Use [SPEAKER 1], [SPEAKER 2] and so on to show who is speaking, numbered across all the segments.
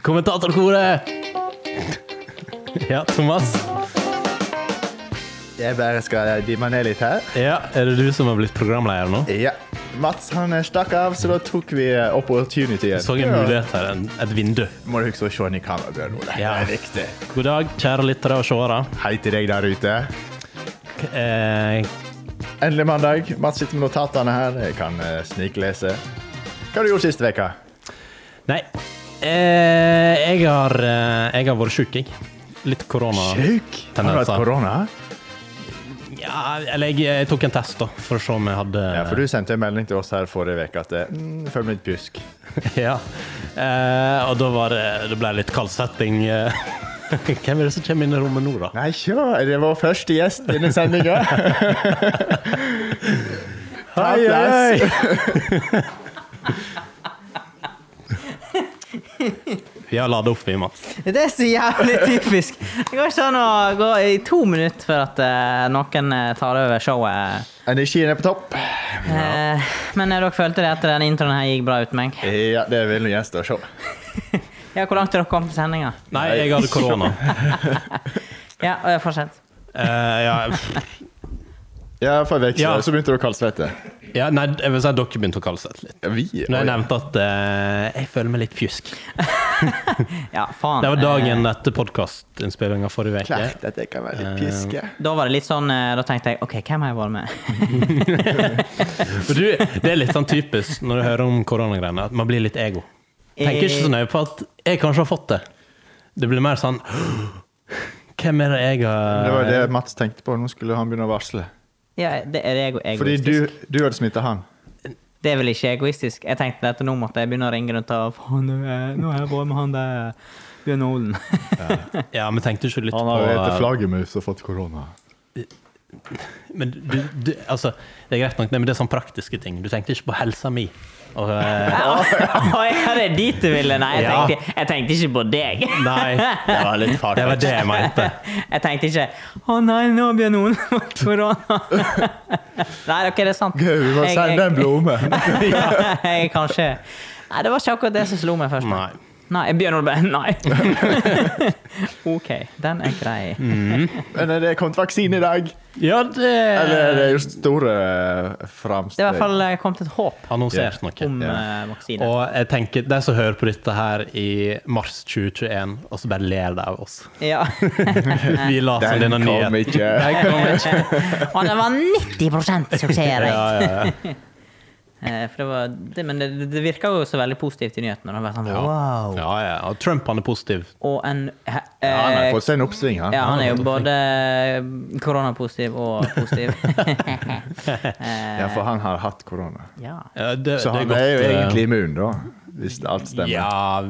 [SPEAKER 1] Kommentatorkoret! Ja, Thomas.
[SPEAKER 2] Jeg bare skal dimme ned litt her.
[SPEAKER 1] Ja, Er det du som har blitt programleder nå?
[SPEAKER 2] Ja. Mats han eh, stakk av, så da tok vi eh, opportunityen.
[SPEAKER 1] Jeg så en mulighet her, en, et vindu.
[SPEAKER 2] Må du huske å se inn i kameraet, Ole.
[SPEAKER 1] Ja.
[SPEAKER 2] Det er viktig.
[SPEAKER 1] God dag, kjære lyttere og seere.
[SPEAKER 2] Hei til deg der ute.
[SPEAKER 1] Eh,
[SPEAKER 2] Endelig mandag. Mats sitter med notatene her. Jeg kan eh, sniklese. Hva har du gjort siste uke?
[SPEAKER 1] nei, eh, jeg, har, eh, jeg har vært sjuk, jeg. Litt korona.
[SPEAKER 2] Sjuk! Har du hatt
[SPEAKER 1] Tendenser.
[SPEAKER 2] korona?
[SPEAKER 1] Ja, eller jeg, jeg tok en test, da, for å se om jeg hadde
[SPEAKER 2] Ja, for du sendte en melding til oss her forrige uke at eh, mm, følg med litt pjusk.
[SPEAKER 1] Ja. Eh, og da var det, det ble litt kald setting. eh. Hvem er det som kommer inn i rommet nå, da?
[SPEAKER 2] Nei, sjå, er det vår første gjest i denne sendinga?
[SPEAKER 1] Hei, hei, Vi har ladet opp, vi, Mats.
[SPEAKER 3] Det er så jævlig typisk. Det går ikke an å gå i to minutter før at eh, noen eh, tar over showet.
[SPEAKER 2] Energien er på topp.
[SPEAKER 3] Eh, men eh, dere følte det etter den introen her gjengen bra uten meg?
[SPEAKER 2] Ja, det vil nå gjenstå å se.
[SPEAKER 3] Ja, Hvor langt er dere kommet i sendinga?
[SPEAKER 1] Nei, jeg hadde korona.
[SPEAKER 3] Ja, eh, fortsett.
[SPEAKER 1] Eh, ja, pff.
[SPEAKER 2] Ja, for en uke
[SPEAKER 1] Ja.
[SPEAKER 2] siden så begynte du å kaldsvette.
[SPEAKER 1] ja, nei, jeg vil si at dere begynte å kaldsette litt.
[SPEAKER 2] Ja, Vi?
[SPEAKER 1] Når jeg
[SPEAKER 2] Oi.
[SPEAKER 1] nevnte at eh, jeg føler meg litt pjusk.
[SPEAKER 3] Ja, faen.
[SPEAKER 1] Det var dagen
[SPEAKER 3] Eh,
[SPEAKER 1] etter podkastinnspillinga forrige uke.
[SPEAKER 2] Klart at jeg kan være
[SPEAKER 1] Eh,
[SPEAKER 2] litt pjuske.
[SPEAKER 3] da var det litt sånn eh, Da tenkte jeg OK, hvem har jeg vært med?
[SPEAKER 1] For du, det er litt sånn typisk når du hører om koronagreiene, at man blir litt ego. Tenker ikke så nøye på at jeg kanskje har fått det. Det blir mer sånn Hvem er det jeg har
[SPEAKER 2] Det var det Mats tenkte på. Nå skulle han begynne å varsle.
[SPEAKER 3] Ja, det er ego
[SPEAKER 2] Fordi
[SPEAKER 3] egoistisk.
[SPEAKER 2] du, du hadde smitta han.
[SPEAKER 3] Det er vel ikke egoistisk. Jeg tenkte at nå måtte jeg begynne å ringe rundt og Faen, nå er- nå har jeg vært med han der Bjørn Olen.
[SPEAKER 1] Ja, men tenkte ikke litt
[SPEAKER 2] Han har jo hett
[SPEAKER 1] på eh,
[SPEAKER 2] flaggermus og fått korona.
[SPEAKER 1] Men du, du, altså, det er greit nok, nei, men det er sånn praktiske ting. Du tenkte ikke på helsa mi. Og, eh,
[SPEAKER 3] Å ja, det er dit du ville? Nei, jeg
[SPEAKER 1] Ja.
[SPEAKER 3] tenkte, jeg tenkte ikke på deg.
[SPEAKER 1] nei, det var litt fart. Det var det jeg mente.
[SPEAKER 3] Jeg tenkte ikke 'Å nei, nå blir noen fått korona'. nei, ok, det er sant.
[SPEAKER 2] Gud, vi må
[SPEAKER 3] Jeg-
[SPEAKER 2] sende en
[SPEAKER 3] jeg-
[SPEAKER 2] blomme!
[SPEAKER 3] jeg kanskje Nei, det var ikke akkurat det som slo meg først.
[SPEAKER 1] Nei.
[SPEAKER 3] Nei, Bjørn Olbe, nei. OK, den er grei.
[SPEAKER 2] Men er det kommet vaksine i dag?
[SPEAKER 1] Ja, det
[SPEAKER 2] Eller er det gjort store eh,
[SPEAKER 3] Det er i hvert
[SPEAKER 2] framsteg?
[SPEAKER 3] fall eh, kommet et håp
[SPEAKER 1] Annonsert noe.
[SPEAKER 3] om eh, vaksine.
[SPEAKER 1] Og jeg tenker, de som hører på dette her i mars 2021, og så bare ler de av oss.
[SPEAKER 3] Ja.
[SPEAKER 1] Vi la som
[SPEAKER 2] Den
[SPEAKER 1] denne
[SPEAKER 2] kom
[SPEAKER 1] nyheten.
[SPEAKER 2] ikke.
[SPEAKER 1] Den kom ikke.
[SPEAKER 3] Og det var 90
[SPEAKER 1] Ja,
[SPEAKER 3] suksessrate!
[SPEAKER 1] ja, ja.
[SPEAKER 3] Eh, For det var, det, men det, det virka jo så veldig positivt i nyhetene. Det var sånn,
[SPEAKER 1] Ja.
[SPEAKER 3] wow.
[SPEAKER 1] Ja, ja. Og Trump han er positiv.
[SPEAKER 3] Og en he-
[SPEAKER 2] Ja, han har
[SPEAKER 3] eh,
[SPEAKER 2] fått seg en oppsving, han.
[SPEAKER 3] Ja, han er jo både koronapositiv og positiv. eh.
[SPEAKER 2] Ja, for han har hatt korona.
[SPEAKER 3] ja.
[SPEAKER 1] Ja, det,
[SPEAKER 2] Så han
[SPEAKER 1] det
[SPEAKER 2] er
[SPEAKER 1] er
[SPEAKER 2] jo
[SPEAKER 1] godt, eh,
[SPEAKER 2] egentlig immun, da. Hvis alt stemmer.
[SPEAKER 1] Ja,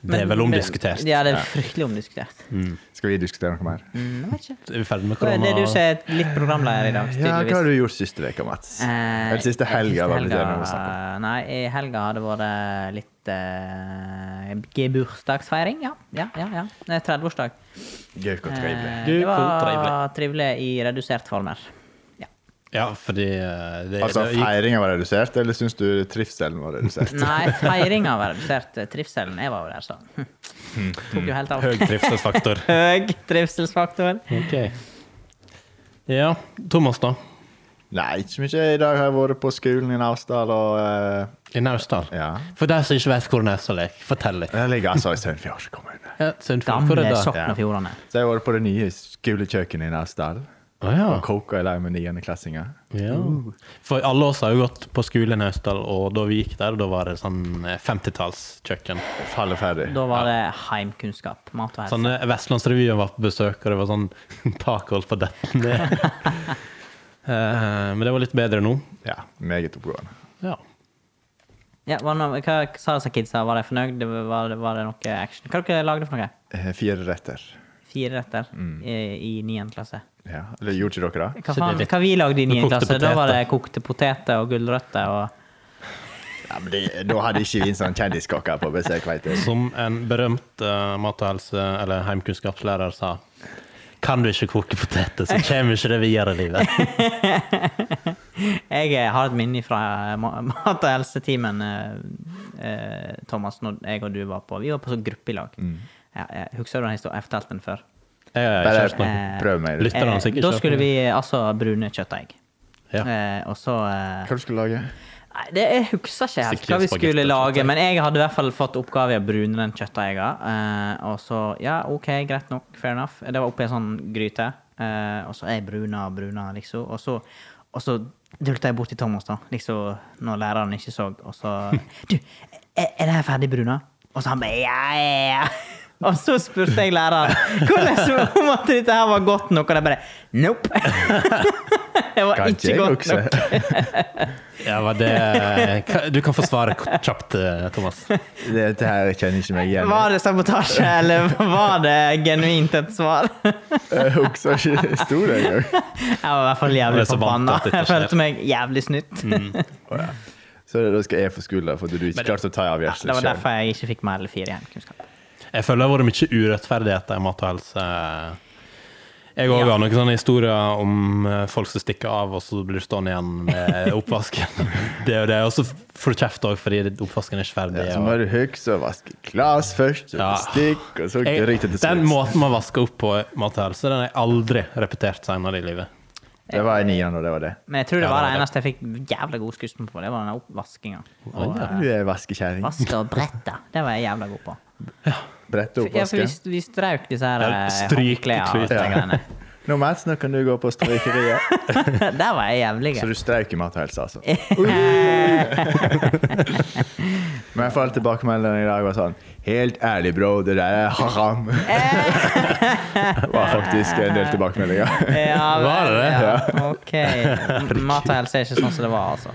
[SPEAKER 1] det er vel omdiskutert.
[SPEAKER 3] Ja, det er fryktelig omdiskutert.
[SPEAKER 2] Skal vi diskutere noe mer?
[SPEAKER 3] Mm, jeg vet ikke.
[SPEAKER 1] Er vi ferdig med
[SPEAKER 3] Det
[SPEAKER 1] korona?
[SPEAKER 3] er du som er litt programleder i dag,
[SPEAKER 2] Ja, hva har
[SPEAKER 3] tydeligvis.
[SPEAKER 2] du gjort siste uke, Mats?
[SPEAKER 3] Eh,
[SPEAKER 2] Eller siste helga? var det det vi snakket om.
[SPEAKER 3] Nei, i helga har det vært litt eh, gebursdagsfeiring. Ja, ja, ja. ja. Det er 30-årsdag.
[SPEAKER 2] Gøy og trivelig.
[SPEAKER 3] Eh,
[SPEAKER 1] Gud,
[SPEAKER 3] det
[SPEAKER 1] hvor
[SPEAKER 3] var
[SPEAKER 1] trivelig.
[SPEAKER 3] trivelig i redusert former. Ja.
[SPEAKER 1] Ja, fordi eh, det,
[SPEAKER 2] Altså,
[SPEAKER 1] det gikk,
[SPEAKER 2] feiringa var redusert, eller syns du trivselen var redusert?
[SPEAKER 3] Nei, feiringa var redusert. eh, Trivselen Jeg var jo der, så. Hm. Tok jo helt av.
[SPEAKER 1] høy trivselsfaktor.
[SPEAKER 3] Høy trivselsfaktor.
[SPEAKER 1] Ok. Ja, Thomas da?
[SPEAKER 2] Nei, ikke så mye. I dag har jeg vært på skolen i Naustdal, og eh,
[SPEAKER 1] I Naustdal?
[SPEAKER 2] ja.
[SPEAKER 1] For deg som ikke vet hvor Naustdal er, fortell litt.
[SPEAKER 2] Jeg ligger altså i Sørfjord kommune.
[SPEAKER 1] Ja, Sundfjord, hvor er
[SPEAKER 3] Gamle
[SPEAKER 1] det?
[SPEAKER 3] Sogn og Fjordane.
[SPEAKER 2] Så jeg har vært på det nye skolekjøkkenet i Naustdal.
[SPEAKER 1] Å ja.
[SPEAKER 2] Og koka i lag med niendeklassinger.
[SPEAKER 1] ja. For alle oss har jo gått på skole i Naustdal, og da vi gikk der, da var det sånn eh, 50-tallskjøkken.
[SPEAKER 2] Faller ferdig.
[SPEAKER 3] Da var det heimkunnskap. Mat og helse.
[SPEAKER 1] Sånn, eh, Vestlandsrevyen var på besøk, og det var sånn tak holdt på å dette ned. Eh, Men det var litt bedre nå.
[SPEAKER 2] Ja, meget oppegående.
[SPEAKER 1] Ja.
[SPEAKER 3] Ja, var det noe, hva sa disse kidsa? Var de fornøyd? Det Var, var det- var det noe action? Hva dere lagde for noe?
[SPEAKER 2] Eh, Fire retter.
[SPEAKER 3] Fire retter i, i 9. klasse.
[SPEAKER 2] Ja. Eller gjorde ikke dere
[SPEAKER 1] Mm.
[SPEAKER 2] det?
[SPEAKER 3] Hva,
[SPEAKER 1] Så det er
[SPEAKER 3] faen,
[SPEAKER 1] litt-
[SPEAKER 3] hva vi lagde i
[SPEAKER 1] Du
[SPEAKER 3] 9.
[SPEAKER 1] kokte
[SPEAKER 3] klasse? Da var
[SPEAKER 1] poteter.
[SPEAKER 3] det kokte poteter og gulrøtter og
[SPEAKER 2] Ja, men det, Da hadde ikke vi en sånn kjendiskokk her på besøk, veit du.
[SPEAKER 1] Som en berømt eh, mat- og helse- eller heimkunnskapslærer sa Kan du ikke koke poteter, så kommer ikke det videre i livet.
[SPEAKER 3] Jeg eh, har et minne fra ma- mat- og helsetimen eh, eh, Thomas, når jeg og du var på Vi var på sånn gruppe i lag.
[SPEAKER 1] Mm.
[SPEAKER 3] Ja, jeg, husker du den historien? Jeg fortalte den før.
[SPEAKER 1] Jeg har ikke hørt noe.
[SPEAKER 2] Bare
[SPEAKER 3] Eh,
[SPEAKER 2] prøv meg.
[SPEAKER 1] Lytt.
[SPEAKER 2] Hva
[SPEAKER 1] Lytterne har sikkert
[SPEAKER 3] da
[SPEAKER 1] kjøpt
[SPEAKER 3] skulle
[SPEAKER 1] den.
[SPEAKER 3] vi eh, altså brune kjøttdeig.
[SPEAKER 1] Ja.
[SPEAKER 3] Eh, og så eh,
[SPEAKER 2] du skulle lage?
[SPEAKER 3] Nei, det, jeg husker ikke helt hva vi
[SPEAKER 1] Sikkert spagetti
[SPEAKER 3] skulle
[SPEAKER 1] og
[SPEAKER 3] lage,
[SPEAKER 1] kjøttdeig.
[SPEAKER 3] men jeg hadde i hvert fall fått oppgave i å brune den kjøttdeiga. eh, og så Ja, OK, greit nok. Fair enough. Det var oppi en sånn gryte. eh, og så er jeg bruna og bruna, liksom. Og så, og så dulta jeg bort til Thomas, da, liksom, når læreren ikke så. Og så Du, er, er det her ferdig bruna? Og så han bare Ja, ja, ja. Og så spurte jeg læreren hvordan om at dette her var godt nok, og de bare Nope. det var
[SPEAKER 2] Kan ikke
[SPEAKER 3] ikke
[SPEAKER 2] jeg
[SPEAKER 3] godt
[SPEAKER 2] huske.
[SPEAKER 3] nok.
[SPEAKER 1] Ja, var det, eh, Hva- du kan få svaret k- kjapt, eh, Thomas.
[SPEAKER 2] Dette her kjenner ikke meg igjen. i.
[SPEAKER 3] Var det sabotasje, eller var det genuint et svar?
[SPEAKER 2] Jeg husker ikke historien engang.
[SPEAKER 3] Jeg var i hvert fall
[SPEAKER 1] Jeg
[SPEAKER 3] jævlig
[SPEAKER 1] er så vant til
[SPEAKER 3] forbanna.
[SPEAKER 1] at dette
[SPEAKER 3] Jeg
[SPEAKER 1] skjer. Mm,
[SPEAKER 3] følte meg jævlig snytt.
[SPEAKER 2] Å, ja. Så da skal jeg få skylda for at du ikke
[SPEAKER 1] Men-
[SPEAKER 2] klarte å ta avgjørelsen
[SPEAKER 3] Det var
[SPEAKER 2] selv.
[SPEAKER 3] derfor jeg ikke fikk mer eller fire i hjemkunnskap.
[SPEAKER 1] Jeg føler det har vært mye urettferdigheter i mat og helse. Jeg òg
[SPEAKER 3] Ja.
[SPEAKER 1] har noen sånne historier om eh, folk som stikker av, og så blir du stående igjen med oppvasken. det og det. Og så får du kjeft òg fordi oppvasken er ikke ferdig.
[SPEAKER 2] Ja, så må
[SPEAKER 1] og...
[SPEAKER 2] du huske å vaske glass først, og
[SPEAKER 1] Ja.
[SPEAKER 2] bestikk, og så
[SPEAKER 1] jeg,
[SPEAKER 2] gryte til
[SPEAKER 1] den
[SPEAKER 2] slutt.
[SPEAKER 1] måten man vasker opp på mat og helse, den har jeg aldri repetert senere i livet.
[SPEAKER 2] Det var i niende, og det var det.
[SPEAKER 3] Men jeg tror det
[SPEAKER 1] Ja,
[SPEAKER 3] var
[SPEAKER 1] det
[SPEAKER 3] det
[SPEAKER 1] var det.
[SPEAKER 3] eneste jeg fikk jævla god skussmål på. Det var den oppvaskinga. Og, eh,
[SPEAKER 2] Du er vaskekjerring.
[SPEAKER 3] Vaske og brette. Det var jeg jævla god på.
[SPEAKER 2] Brette opp
[SPEAKER 3] Ja, for vi,
[SPEAKER 2] vasken.
[SPEAKER 3] vi strøk disse her
[SPEAKER 1] Ja,
[SPEAKER 3] eh,
[SPEAKER 1] stryk,
[SPEAKER 3] håndklærne og
[SPEAKER 1] klut.
[SPEAKER 3] de greiene.
[SPEAKER 2] Nå, Mats, nå kan du gå på strykeriet.
[SPEAKER 3] Der var jeg jævlig.
[SPEAKER 2] Så du strøk i mat og helse, altså. Men jeg får tilbakemeldingen i dag var sånn Helt ærlig, bro, det der er haram. Det
[SPEAKER 3] Eh,
[SPEAKER 2] var faktisk en del tilbakemeldinger.
[SPEAKER 3] eh, Ja, vel,
[SPEAKER 1] Var det det?
[SPEAKER 3] Ja. OK. Mat og helse er ikke sånn som det var, altså.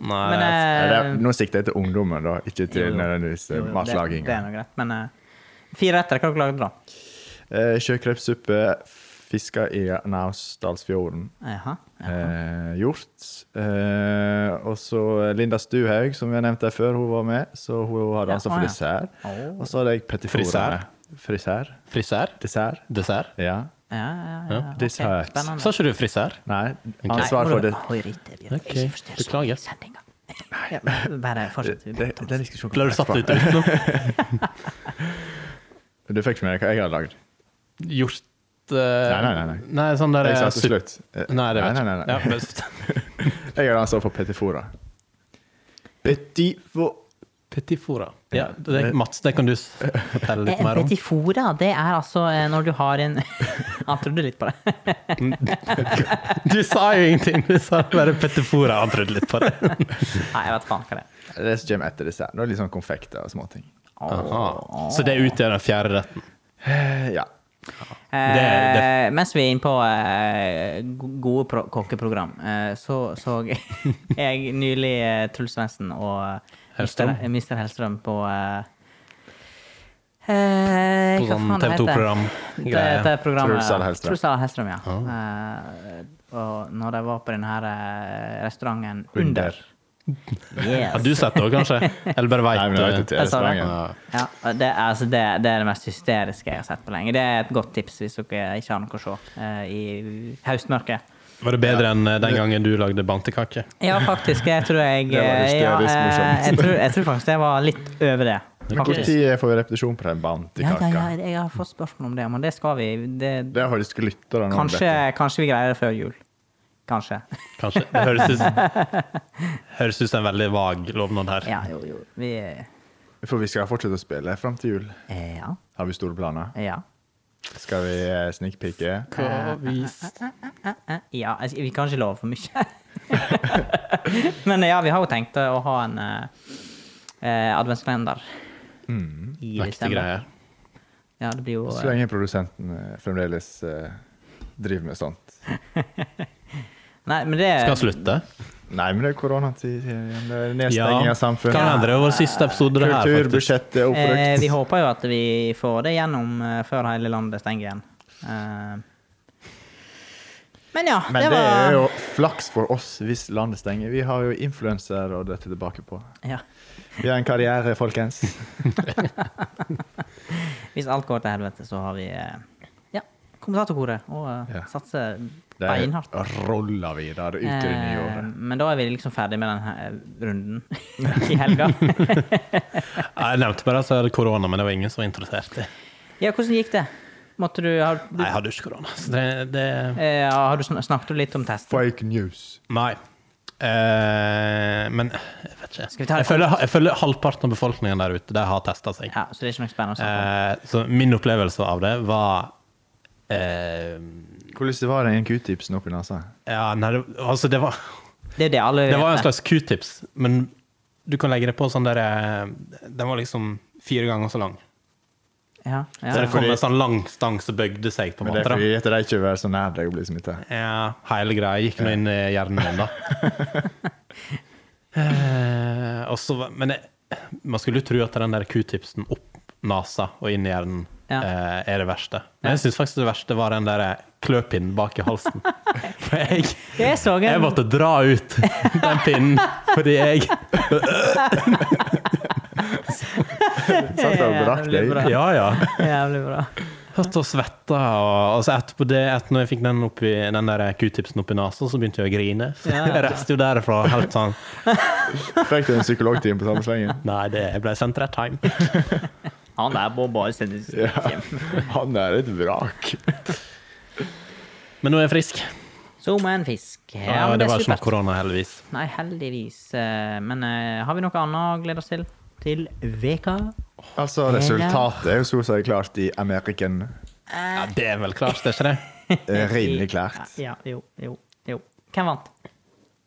[SPEAKER 1] Nei,
[SPEAKER 3] Men,
[SPEAKER 2] Ja,
[SPEAKER 3] eh,
[SPEAKER 2] det er- Nå sikter jeg til ungdommen, da, ikke
[SPEAKER 3] Jo,
[SPEAKER 2] til
[SPEAKER 3] jo.
[SPEAKER 2] nødvendigvis
[SPEAKER 3] Jo, jo,
[SPEAKER 2] matlaging.
[SPEAKER 3] Det, det er noe greit, men eh, fire retter, hva dere lagde da?
[SPEAKER 2] Eh, Sjøkrepssuppe, fiska i Naustdalsfjorden.
[SPEAKER 3] Jaha.
[SPEAKER 2] Eh, gjort. Eh, og så Linda Stuhaug, som vi har nevnt der før, hun var med. Så hun har dansa
[SPEAKER 3] Ja,
[SPEAKER 2] for
[SPEAKER 3] å, ja.
[SPEAKER 2] dessert.
[SPEAKER 3] Å.
[SPEAKER 2] Og så hadde jeg pettiforene. Frisær?
[SPEAKER 1] Frisør?
[SPEAKER 2] Dessert?
[SPEAKER 1] Dessert?
[SPEAKER 2] Ja.
[SPEAKER 3] Ja, ja, ja.
[SPEAKER 1] Ja,
[SPEAKER 3] ok,
[SPEAKER 2] dessert.
[SPEAKER 3] Spennende.
[SPEAKER 1] Sa ikke du frisør?
[SPEAKER 2] Nei,
[SPEAKER 3] Nei,
[SPEAKER 2] ansvar for
[SPEAKER 3] må du-
[SPEAKER 2] det.
[SPEAKER 3] Oi, Ritter, Bjørn,
[SPEAKER 1] Ok,
[SPEAKER 3] ikke forstyrr så
[SPEAKER 1] beklager.
[SPEAKER 3] mye i sendinga. Ja, Bare fortsett. vi
[SPEAKER 2] Det,
[SPEAKER 3] bryter
[SPEAKER 2] det
[SPEAKER 3] oss.
[SPEAKER 2] diskusjonen.
[SPEAKER 1] Ble du satt litt utenom?
[SPEAKER 2] Du fikk ikke med deg hva jeg hadde lagd?
[SPEAKER 1] Gjort eh,
[SPEAKER 2] Nei, nei, nei, nei.
[SPEAKER 1] sånn der
[SPEAKER 2] Jeg sa til
[SPEAKER 1] supp-
[SPEAKER 2] slutt. Eh,
[SPEAKER 1] Nei, det vet
[SPEAKER 2] nei, nei, nei.
[SPEAKER 1] jeg ikke. Ja, men-
[SPEAKER 2] Jeg hadde ansvar for pettifora. Pettifo...
[SPEAKER 1] Petit fora. Ja, det, Mats, det kan du s- fortelle litt
[SPEAKER 3] Eh,
[SPEAKER 1] mer om.
[SPEAKER 3] Petifora, det er altså eh, når du har en Han trodde litt på det.
[SPEAKER 1] Du sa jo ingenting! Du sa bare pettifora. Han trodde litt på det.
[SPEAKER 3] Nei, jeg vet faen hva det er.
[SPEAKER 2] Det er det som kommer etter dessert. Nå er det litt sånn konfekter og småting.
[SPEAKER 1] Aha. Så det utgjør den fjerde retten.
[SPEAKER 2] Eh, Ja.
[SPEAKER 1] Det-
[SPEAKER 3] Eh, mens vi er inne på eh, go- gode pro kokkeprogram, eh, så så jeg nylig eh, Truls Svendsen og eh,
[SPEAKER 1] Hellstrøm.
[SPEAKER 3] Mr. Mr. Hellstrøm på eh, eh,
[SPEAKER 1] På
[SPEAKER 3] hva
[SPEAKER 1] sånn
[SPEAKER 3] faen det heter?
[SPEAKER 1] TV2-program
[SPEAKER 3] Det,
[SPEAKER 1] greier.
[SPEAKER 3] det programmet,
[SPEAKER 2] Truls eller Hellstrøm.
[SPEAKER 3] Truls eller Hellstrøm, ja.
[SPEAKER 1] Ah.
[SPEAKER 3] Eh, og når de var på den her eh, restauranten Under.
[SPEAKER 2] Under.
[SPEAKER 3] Yes.
[SPEAKER 1] Har du sett det òg, kanskje? Eller bare
[SPEAKER 2] Nei, men jeg vet
[SPEAKER 1] veit
[SPEAKER 2] ikke.
[SPEAKER 1] det?
[SPEAKER 2] er
[SPEAKER 3] Jeg sa det.
[SPEAKER 2] restauranten.
[SPEAKER 3] Ja, og det, er- altså det, det er det mest hysteriske jeg har sett på lenge. Det er et godt tips hvis dere ikke har noe å se eh, i høstmørket.
[SPEAKER 1] Var det bedre enn eh, den gangen du lagde bantekake?
[SPEAKER 3] Ja, faktisk. Jeg tror jeg
[SPEAKER 2] Det var
[SPEAKER 3] eh, ja,
[SPEAKER 2] hysterisk morsomt.
[SPEAKER 3] eh, jeg, tror, jeg tror faktisk jeg var litt over det. Faktisk.
[SPEAKER 2] Når får vi repetisjon på den
[SPEAKER 3] Ja, ja, ja,
[SPEAKER 2] bantikaka?
[SPEAKER 3] jeg har fått spørsmål om det, men det skal vi. Det,
[SPEAKER 2] Det har faktisk lytterne om
[SPEAKER 3] kanskje,
[SPEAKER 2] dette.
[SPEAKER 3] kanskje vi greier det før jul. Kanskje.
[SPEAKER 1] Kanskje. Det høres ut, høres ut som en veldig vag lovnad her.
[SPEAKER 3] Ja, jo, jo. Vi eh,
[SPEAKER 2] For vi skal fortsette å spille fram til jul.
[SPEAKER 3] Ja.
[SPEAKER 2] Har vi store planer?
[SPEAKER 3] Ja.
[SPEAKER 2] Skal vi eh, snikpike?
[SPEAKER 1] Hva vis-
[SPEAKER 3] Eh, ja jeg- vi kan ikke love for mye. men ja, vi har jo tenkt å ha en eh, eh, adventskalender i
[SPEAKER 1] Mektige
[SPEAKER 3] desember.
[SPEAKER 1] greier.
[SPEAKER 3] Ja, det blir jo
[SPEAKER 2] Så
[SPEAKER 3] eh,
[SPEAKER 2] lenge produsenten eh, fremdeles eh, driver med sånt.
[SPEAKER 3] Nei, men det
[SPEAKER 1] Skal slutte?
[SPEAKER 2] Nei, men det er koronatid. igjen. Det er nedstenging av
[SPEAKER 1] Kan
[SPEAKER 2] samfunnet.
[SPEAKER 1] hende det er vår siste episode, det her. faktisk.
[SPEAKER 2] Kulturbudsjettet er
[SPEAKER 3] Eh, vi
[SPEAKER 2] oppbrukt.
[SPEAKER 3] håper jo at vi får det gjennom eh, før hele landet stenger igjen. Eh, men ja,
[SPEAKER 2] Men
[SPEAKER 3] det
[SPEAKER 2] det
[SPEAKER 3] var
[SPEAKER 2] er jo flaks for oss hvis landet stenger. Vi har jo influenser å dette tilbake på.
[SPEAKER 3] ja,
[SPEAKER 2] Vi har en karriere, folkens.
[SPEAKER 3] Hvis alt går til helvete, så har vi eh, ja, kommentatorkoret og eh,
[SPEAKER 2] Ja.
[SPEAKER 3] satser Beinhardt.
[SPEAKER 2] roller videre ut i det nye
[SPEAKER 3] Eh,
[SPEAKER 2] året.
[SPEAKER 3] Men da er vi liksom ferdig med denne runden i helga.
[SPEAKER 1] Jeg nevnte bare at jeg hadde korona, men det var ingen som var interessert. i.
[SPEAKER 3] Ja, hvordan gikk det? Måtte du, har, du
[SPEAKER 1] Nei, jeg hadde jo ikke korona. Så det, det
[SPEAKER 3] eh, har du sn- snakket du litt om testen?
[SPEAKER 2] Fake news.
[SPEAKER 1] Nei. Eh, men jeg vet ikke.
[SPEAKER 3] Skal vi ta det
[SPEAKER 1] jeg, føler, jeg føler halvparten av befolkningen der ute de har testa seg.
[SPEAKER 3] Ja, så det er ikke noe spennende å snakke om.
[SPEAKER 1] Eh, så min opplevelse av det var eh,
[SPEAKER 2] Hvordan det var det en q-tipsen oppi nesa?
[SPEAKER 1] Ja, nei, det, altså, det var
[SPEAKER 3] Det er det alle
[SPEAKER 1] Det var en
[SPEAKER 3] vet.
[SPEAKER 1] slags q-tips, men du kan legge det på sånn der eh, Den var liksom fire ganger så lang.
[SPEAKER 3] Ja, ja.
[SPEAKER 1] Så det kom
[SPEAKER 2] Fordi-
[SPEAKER 1] en sånn lang stang som bøgde seg, på en
[SPEAKER 2] Men det
[SPEAKER 1] måte.
[SPEAKER 2] er
[SPEAKER 1] da.
[SPEAKER 2] fordi at de ikke vil være så nær deg og bli smitta.
[SPEAKER 1] Ja, hele greia gikk nå inn i hjernen min, da. Eh, og så var- men jeg, man skulle jo tro at den der q-tipsen opp nesa og inn i hjernen
[SPEAKER 3] Ja.
[SPEAKER 1] eh, er det verste. Men jeg syns faktisk det verste var den der eh, kløpinnen bak i halsen. For jeg,
[SPEAKER 3] Jeg så en,
[SPEAKER 1] jeg måtte dra ut den pinnen fordi jeg
[SPEAKER 2] Satt og brakk
[SPEAKER 3] Jævlig
[SPEAKER 2] deg.
[SPEAKER 3] bra.
[SPEAKER 1] Ja, ja.
[SPEAKER 3] Jævlig bra.
[SPEAKER 1] Satt og svetta. Og, og så etterpå det, etter når jeg fikk den, oppi, den der q-tipsen oppi nesa, så begynte jeg å grine. Så
[SPEAKER 3] Ja, ja.
[SPEAKER 1] jeg reiste jo derfra helt sånn
[SPEAKER 2] Fikk du en psykologtime på samme slengen?
[SPEAKER 1] Nei, det jeg ble sendt rett hjem.
[SPEAKER 3] Han der må bare sendes
[SPEAKER 2] Ja.
[SPEAKER 3] hjem.
[SPEAKER 2] Han er et vrak.
[SPEAKER 1] Men nå er jeg frisk.
[SPEAKER 3] Som en fisk. Ja,
[SPEAKER 1] Ja,
[SPEAKER 3] men
[SPEAKER 1] det
[SPEAKER 3] er
[SPEAKER 1] var sånn ikke noe
[SPEAKER 3] supert.
[SPEAKER 1] korona, heldigvis.
[SPEAKER 3] Nei, heldigvis. Eh, Men eh, har vi noe annet å glede oss til? Til veka?
[SPEAKER 2] Altså, resultatet er jo så å si klart i American.
[SPEAKER 1] Ja, Det er vel klart, det er ikke det?
[SPEAKER 2] Eh, Rimelig klart.
[SPEAKER 3] Ja, ja, jo, jo, jo. Hvem vant?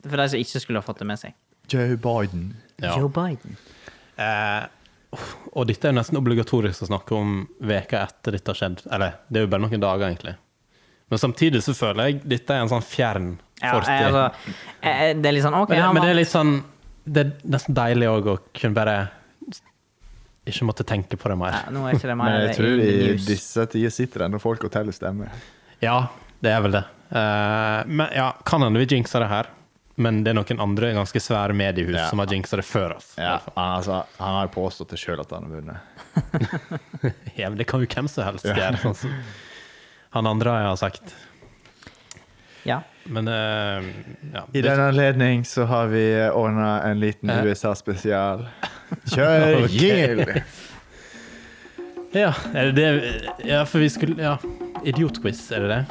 [SPEAKER 3] For de som ikke skulle ha fått det med seg.
[SPEAKER 2] Joe Biden.
[SPEAKER 1] Ja.
[SPEAKER 3] Joe Biden.
[SPEAKER 1] Eh, og dette er jo nesten obligatorisk å snakke om veka etter dette har skjedd. Eller, det er jo bare noen dager, egentlig. Men samtidig så føler jeg dette er en sånn fjern
[SPEAKER 3] Ja,
[SPEAKER 1] fortid.
[SPEAKER 3] eh, altså, eh, eh, det er litt sånn OK,
[SPEAKER 1] men, det,
[SPEAKER 3] han
[SPEAKER 1] men det er
[SPEAKER 3] vant.
[SPEAKER 1] litt sånn Det er nesten deilig òg å kunne bare ikke måtte tenke på det
[SPEAKER 3] Ja,
[SPEAKER 1] mer.
[SPEAKER 3] nå er ikke det mer
[SPEAKER 2] Men jeg
[SPEAKER 3] i
[SPEAKER 2] tror i
[SPEAKER 3] news.
[SPEAKER 2] disse tider sitter det ennå folk og teller stemmer.
[SPEAKER 1] Ja, det er vel det. Eh, men ja, kan hende vi jinxer det her. Men det er noen andre ganske svære mediehus
[SPEAKER 2] Ja.
[SPEAKER 1] som har jinxa det før oss.
[SPEAKER 2] Ja, altså, han har påstått det sjøl at han har vunnet.
[SPEAKER 1] Ja, men det kan jo hvem som helst gjøre. Sånn som han andre har sagt.
[SPEAKER 3] Ja.
[SPEAKER 1] Men eh, ja.
[SPEAKER 2] I den anledning så har vi ordna en liten
[SPEAKER 1] Eh?
[SPEAKER 2] USA-spesial. Kjør
[SPEAKER 1] Ok.
[SPEAKER 2] jingel!
[SPEAKER 1] ja, er det det Ja, for vi skulle Ja. Idiotquiz, er det det?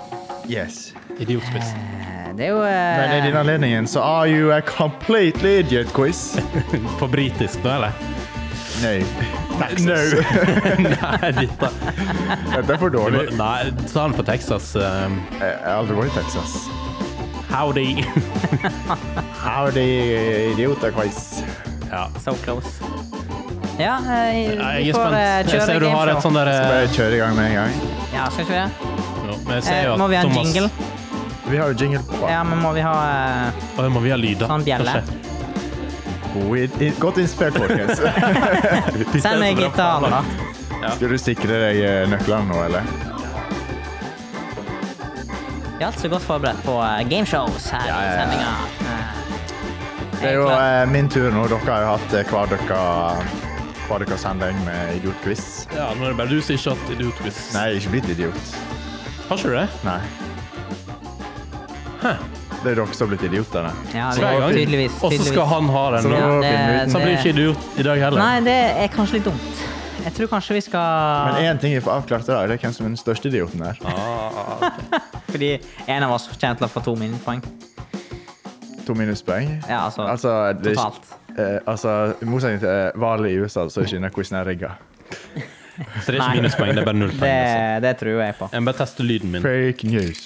[SPEAKER 2] Yes.
[SPEAKER 1] Idiotquiz.
[SPEAKER 3] Eh, Det er jo
[SPEAKER 2] Men i
[SPEAKER 3] eh,
[SPEAKER 2] den anledningen så are you a completely idiot quiz.
[SPEAKER 1] På britisk nå, eller?
[SPEAKER 2] Nei.
[SPEAKER 1] No. Nei, dette
[SPEAKER 2] Dette er for dårlig.
[SPEAKER 1] Nei, ta den på Texas. eh,
[SPEAKER 2] Jeg har aldri vært i Texas.
[SPEAKER 1] howdy.
[SPEAKER 2] Howdy, idiota-quiz.
[SPEAKER 1] ja.
[SPEAKER 3] So close. Ja, eh,
[SPEAKER 1] Nei,
[SPEAKER 3] vi
[SPEAKER 1] Jeg er
[SPEAKER 3] får eh,
[SPEAKER 1] spent. Jeg
[SPEAKER 3] kjøre
[SPEAKER 1] ser du har et sånn der
[SPEAKER 2] Bare
[SPEAKER 1] eh,
[SPEAKER 2] kjøre i gang med en gang.
[SPEAKER 3] Ja, skal ikke vi det?
[SPEAKER 1] jo, men jeg ser
[SPEAKER 3] Eh,
[SPEAKER 1] jo at
[SPEAKER 3] må vi ha en
[SPEAKER 1] Thomas-
[SPEAKER 3] jingle?
[SPEAKER 2] Vi har jo jingle på.
[SPEAKER 3] Ja, men må vi ha eh,
[SPEAKER 1] Å, må vi ha lyder?
[SPEAKER 3] Sånn bjelle.
[SPEAKER 1] Kanskje.
[SPEAKER 2] God id- Godt innspilt, folkens.
[SPEAKER 1] Dette er
[SPEAKER 3] Send meg
[SPEAKER 1] så bra
[SPEAKER 3] gitaren, da.
[SPEAKER 2] Skal du sikre deg eh, nøklene nå, eller?
[SPEAKER 3] Vi er altså godt forberedt på eh, gameshows her
[SPEAKER 2] Ja, ja,
[SPEAKER 3] i
[SPEAKER 2] ja.
[SPEAKER 3] sendinga.
[SPEAKER 2] Det er jo eh, min tur nå. Dere har jo hatt eh, hver deres hver deres sending med idiotquiz.
[SPEAKER 1] Ja, nå er det bare du som ikke har hatt idiotquiz.
[SPEAKER 2] Nei, jeg er ikke blitt idiot.
[SPEAKER 1] Har ikke du det?
[SPEAKER 2] Nei. Det er dere som har blitt idioter, da.
[SPEAKER 3] Ja, vi-
[SPEAKER 1] Hver gang.
[SPEAKER 3] tydeligvis.
[SPEAKER 1] Og så
[SPEAKER 3] tydeligvis.
[SPEAKER 1] skal han ha den.
[SPEAKER 2] Så nå
[SPEAKER 1] nå.
[SPEAKER 3] Ja, det-
[SPEAKER 2] finner vi ut.
[SPEAKER 1] Så han blir ikke idiot i dag heller.
[SPEAKER 3] Nei, det er kanskje litt dumt. Jeg tror kanskje vi skal
[SPEAKER 2] Men én ting jeg får avklart, da, det er hvem som er den største idioten her.
[SPEAKER 3] Fordi en av oss kommer til å få to minuspoeng.
[SPEAKER 2] To minuspoeng.
[SPEAKER 3] Ja, altså,
[SPEAKER 2] Altså, det er ikke-
[SPEAKER 3] totalt.
[SPEAKER 2] Eh, altså, I motsetning til eh, valget i USA, så er ikke denne quizen rigga.
[SPEAKER 1] Så det er
[SPEAKER 3] Nei.
[SPEAKER 1] ikke minuspoeng, det er bare null poeng.
[SPEAKER 3] Det,
[SPEAKER 1] altså.
[SPEAKER 3] det tror jeg på.
[SPEAKER 1] Jeg må bare teste lyden min.
[SPEAKER 2] Fake news.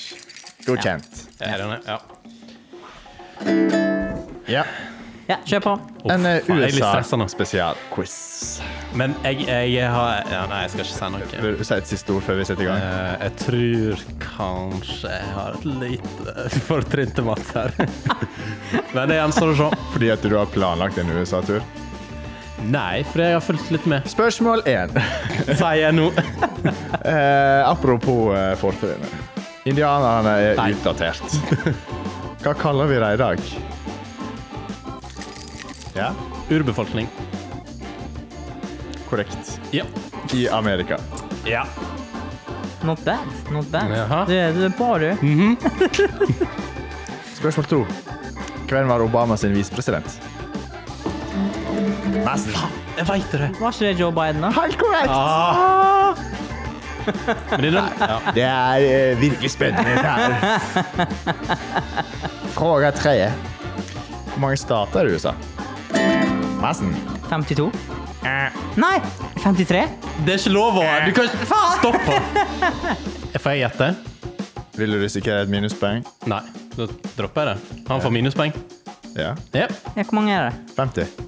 [SPEAKER 2] Godkjent.
[SPEAKER 1] Er den- Ja.
[SPEAKER 2] Ja.
[SPEAKER 3] Ja, kjør på.
[SPEAKER 1] Å,
[SPEAKER 2] En eh,
[SPEAKER 1] faen, jeg er litt stressa nå.
[SPEAKER 2] USA-spesialquiz.
[SPEAKER 1] Men jeg, jeg har ja, Nei, jeg skal ikke si noe.
[SPEAKER 2] Vil du si et siste ord før vi setter i gang?
[SPEAKER 1] Eh, jeg tror kanskje jeg har et lite fortrinn til Mats her. Men det gjenstår å se.
[SPEAKER 2] Fordi at du har planlagt en USA-tur?
[SPEAKER 1] Nei, for jeg har fulgt litt med.
[SPEAKER 2] Spørsmål én.
[SPEAKER 1] Sier jeg nå.
[SPEAKER 2] Eh, apropos eh, forfedrene. Indianerne er
[SPEAKER 1] Nei.
[SPEAKER 2] utdatert. Hva kaller vi dem i dag? Ja,
[SPEAKER 1] Urbefolkning.
[SPEAKER 2] korrekt.
[SPEAKER 1] Ja.
[SPEAKER 2] I Amerika.
[SPEAKER 1] ja.
[SPEAKER 3] Not bad. Not bad.
[SPEAKER 1] Jaha. Mm.
[SPEAKER 3] Du, du er bra, du.
[SPEAKER 2] Spørsmål to. Hvem var Obama sin visepresident?
[SPEAKER 1] Jeg veit det!
[SPEAKER 3] Var ikke det Joe Biden, da?
[SPEAKER 2] Helt korrekt!
[SPEAKER 1] Ah. Men det er den, ja.
[SPEAKER 2] Det er eh, virkelig spennende det her. Fråga tre. Hvor mange stater er det i USA? Massen.
[SPEAKER 3] 52? Nei! 53?
[SPEAKER 1] Det er ikke lov å Du kan ikke Stopp! Jeg Får jeg gjette?
[SPEAKER 2] Vil du risikere et minuspoeng?
[SPEAKER 1] Nei, da dropper jeg det. Han får minuspoeng.
[SPEAKER 2] Ja.
[SPEAKER 1] Ja,
[SPEAKER 3] Ja, hvor mange er det?
[SPEAKER 2] 50.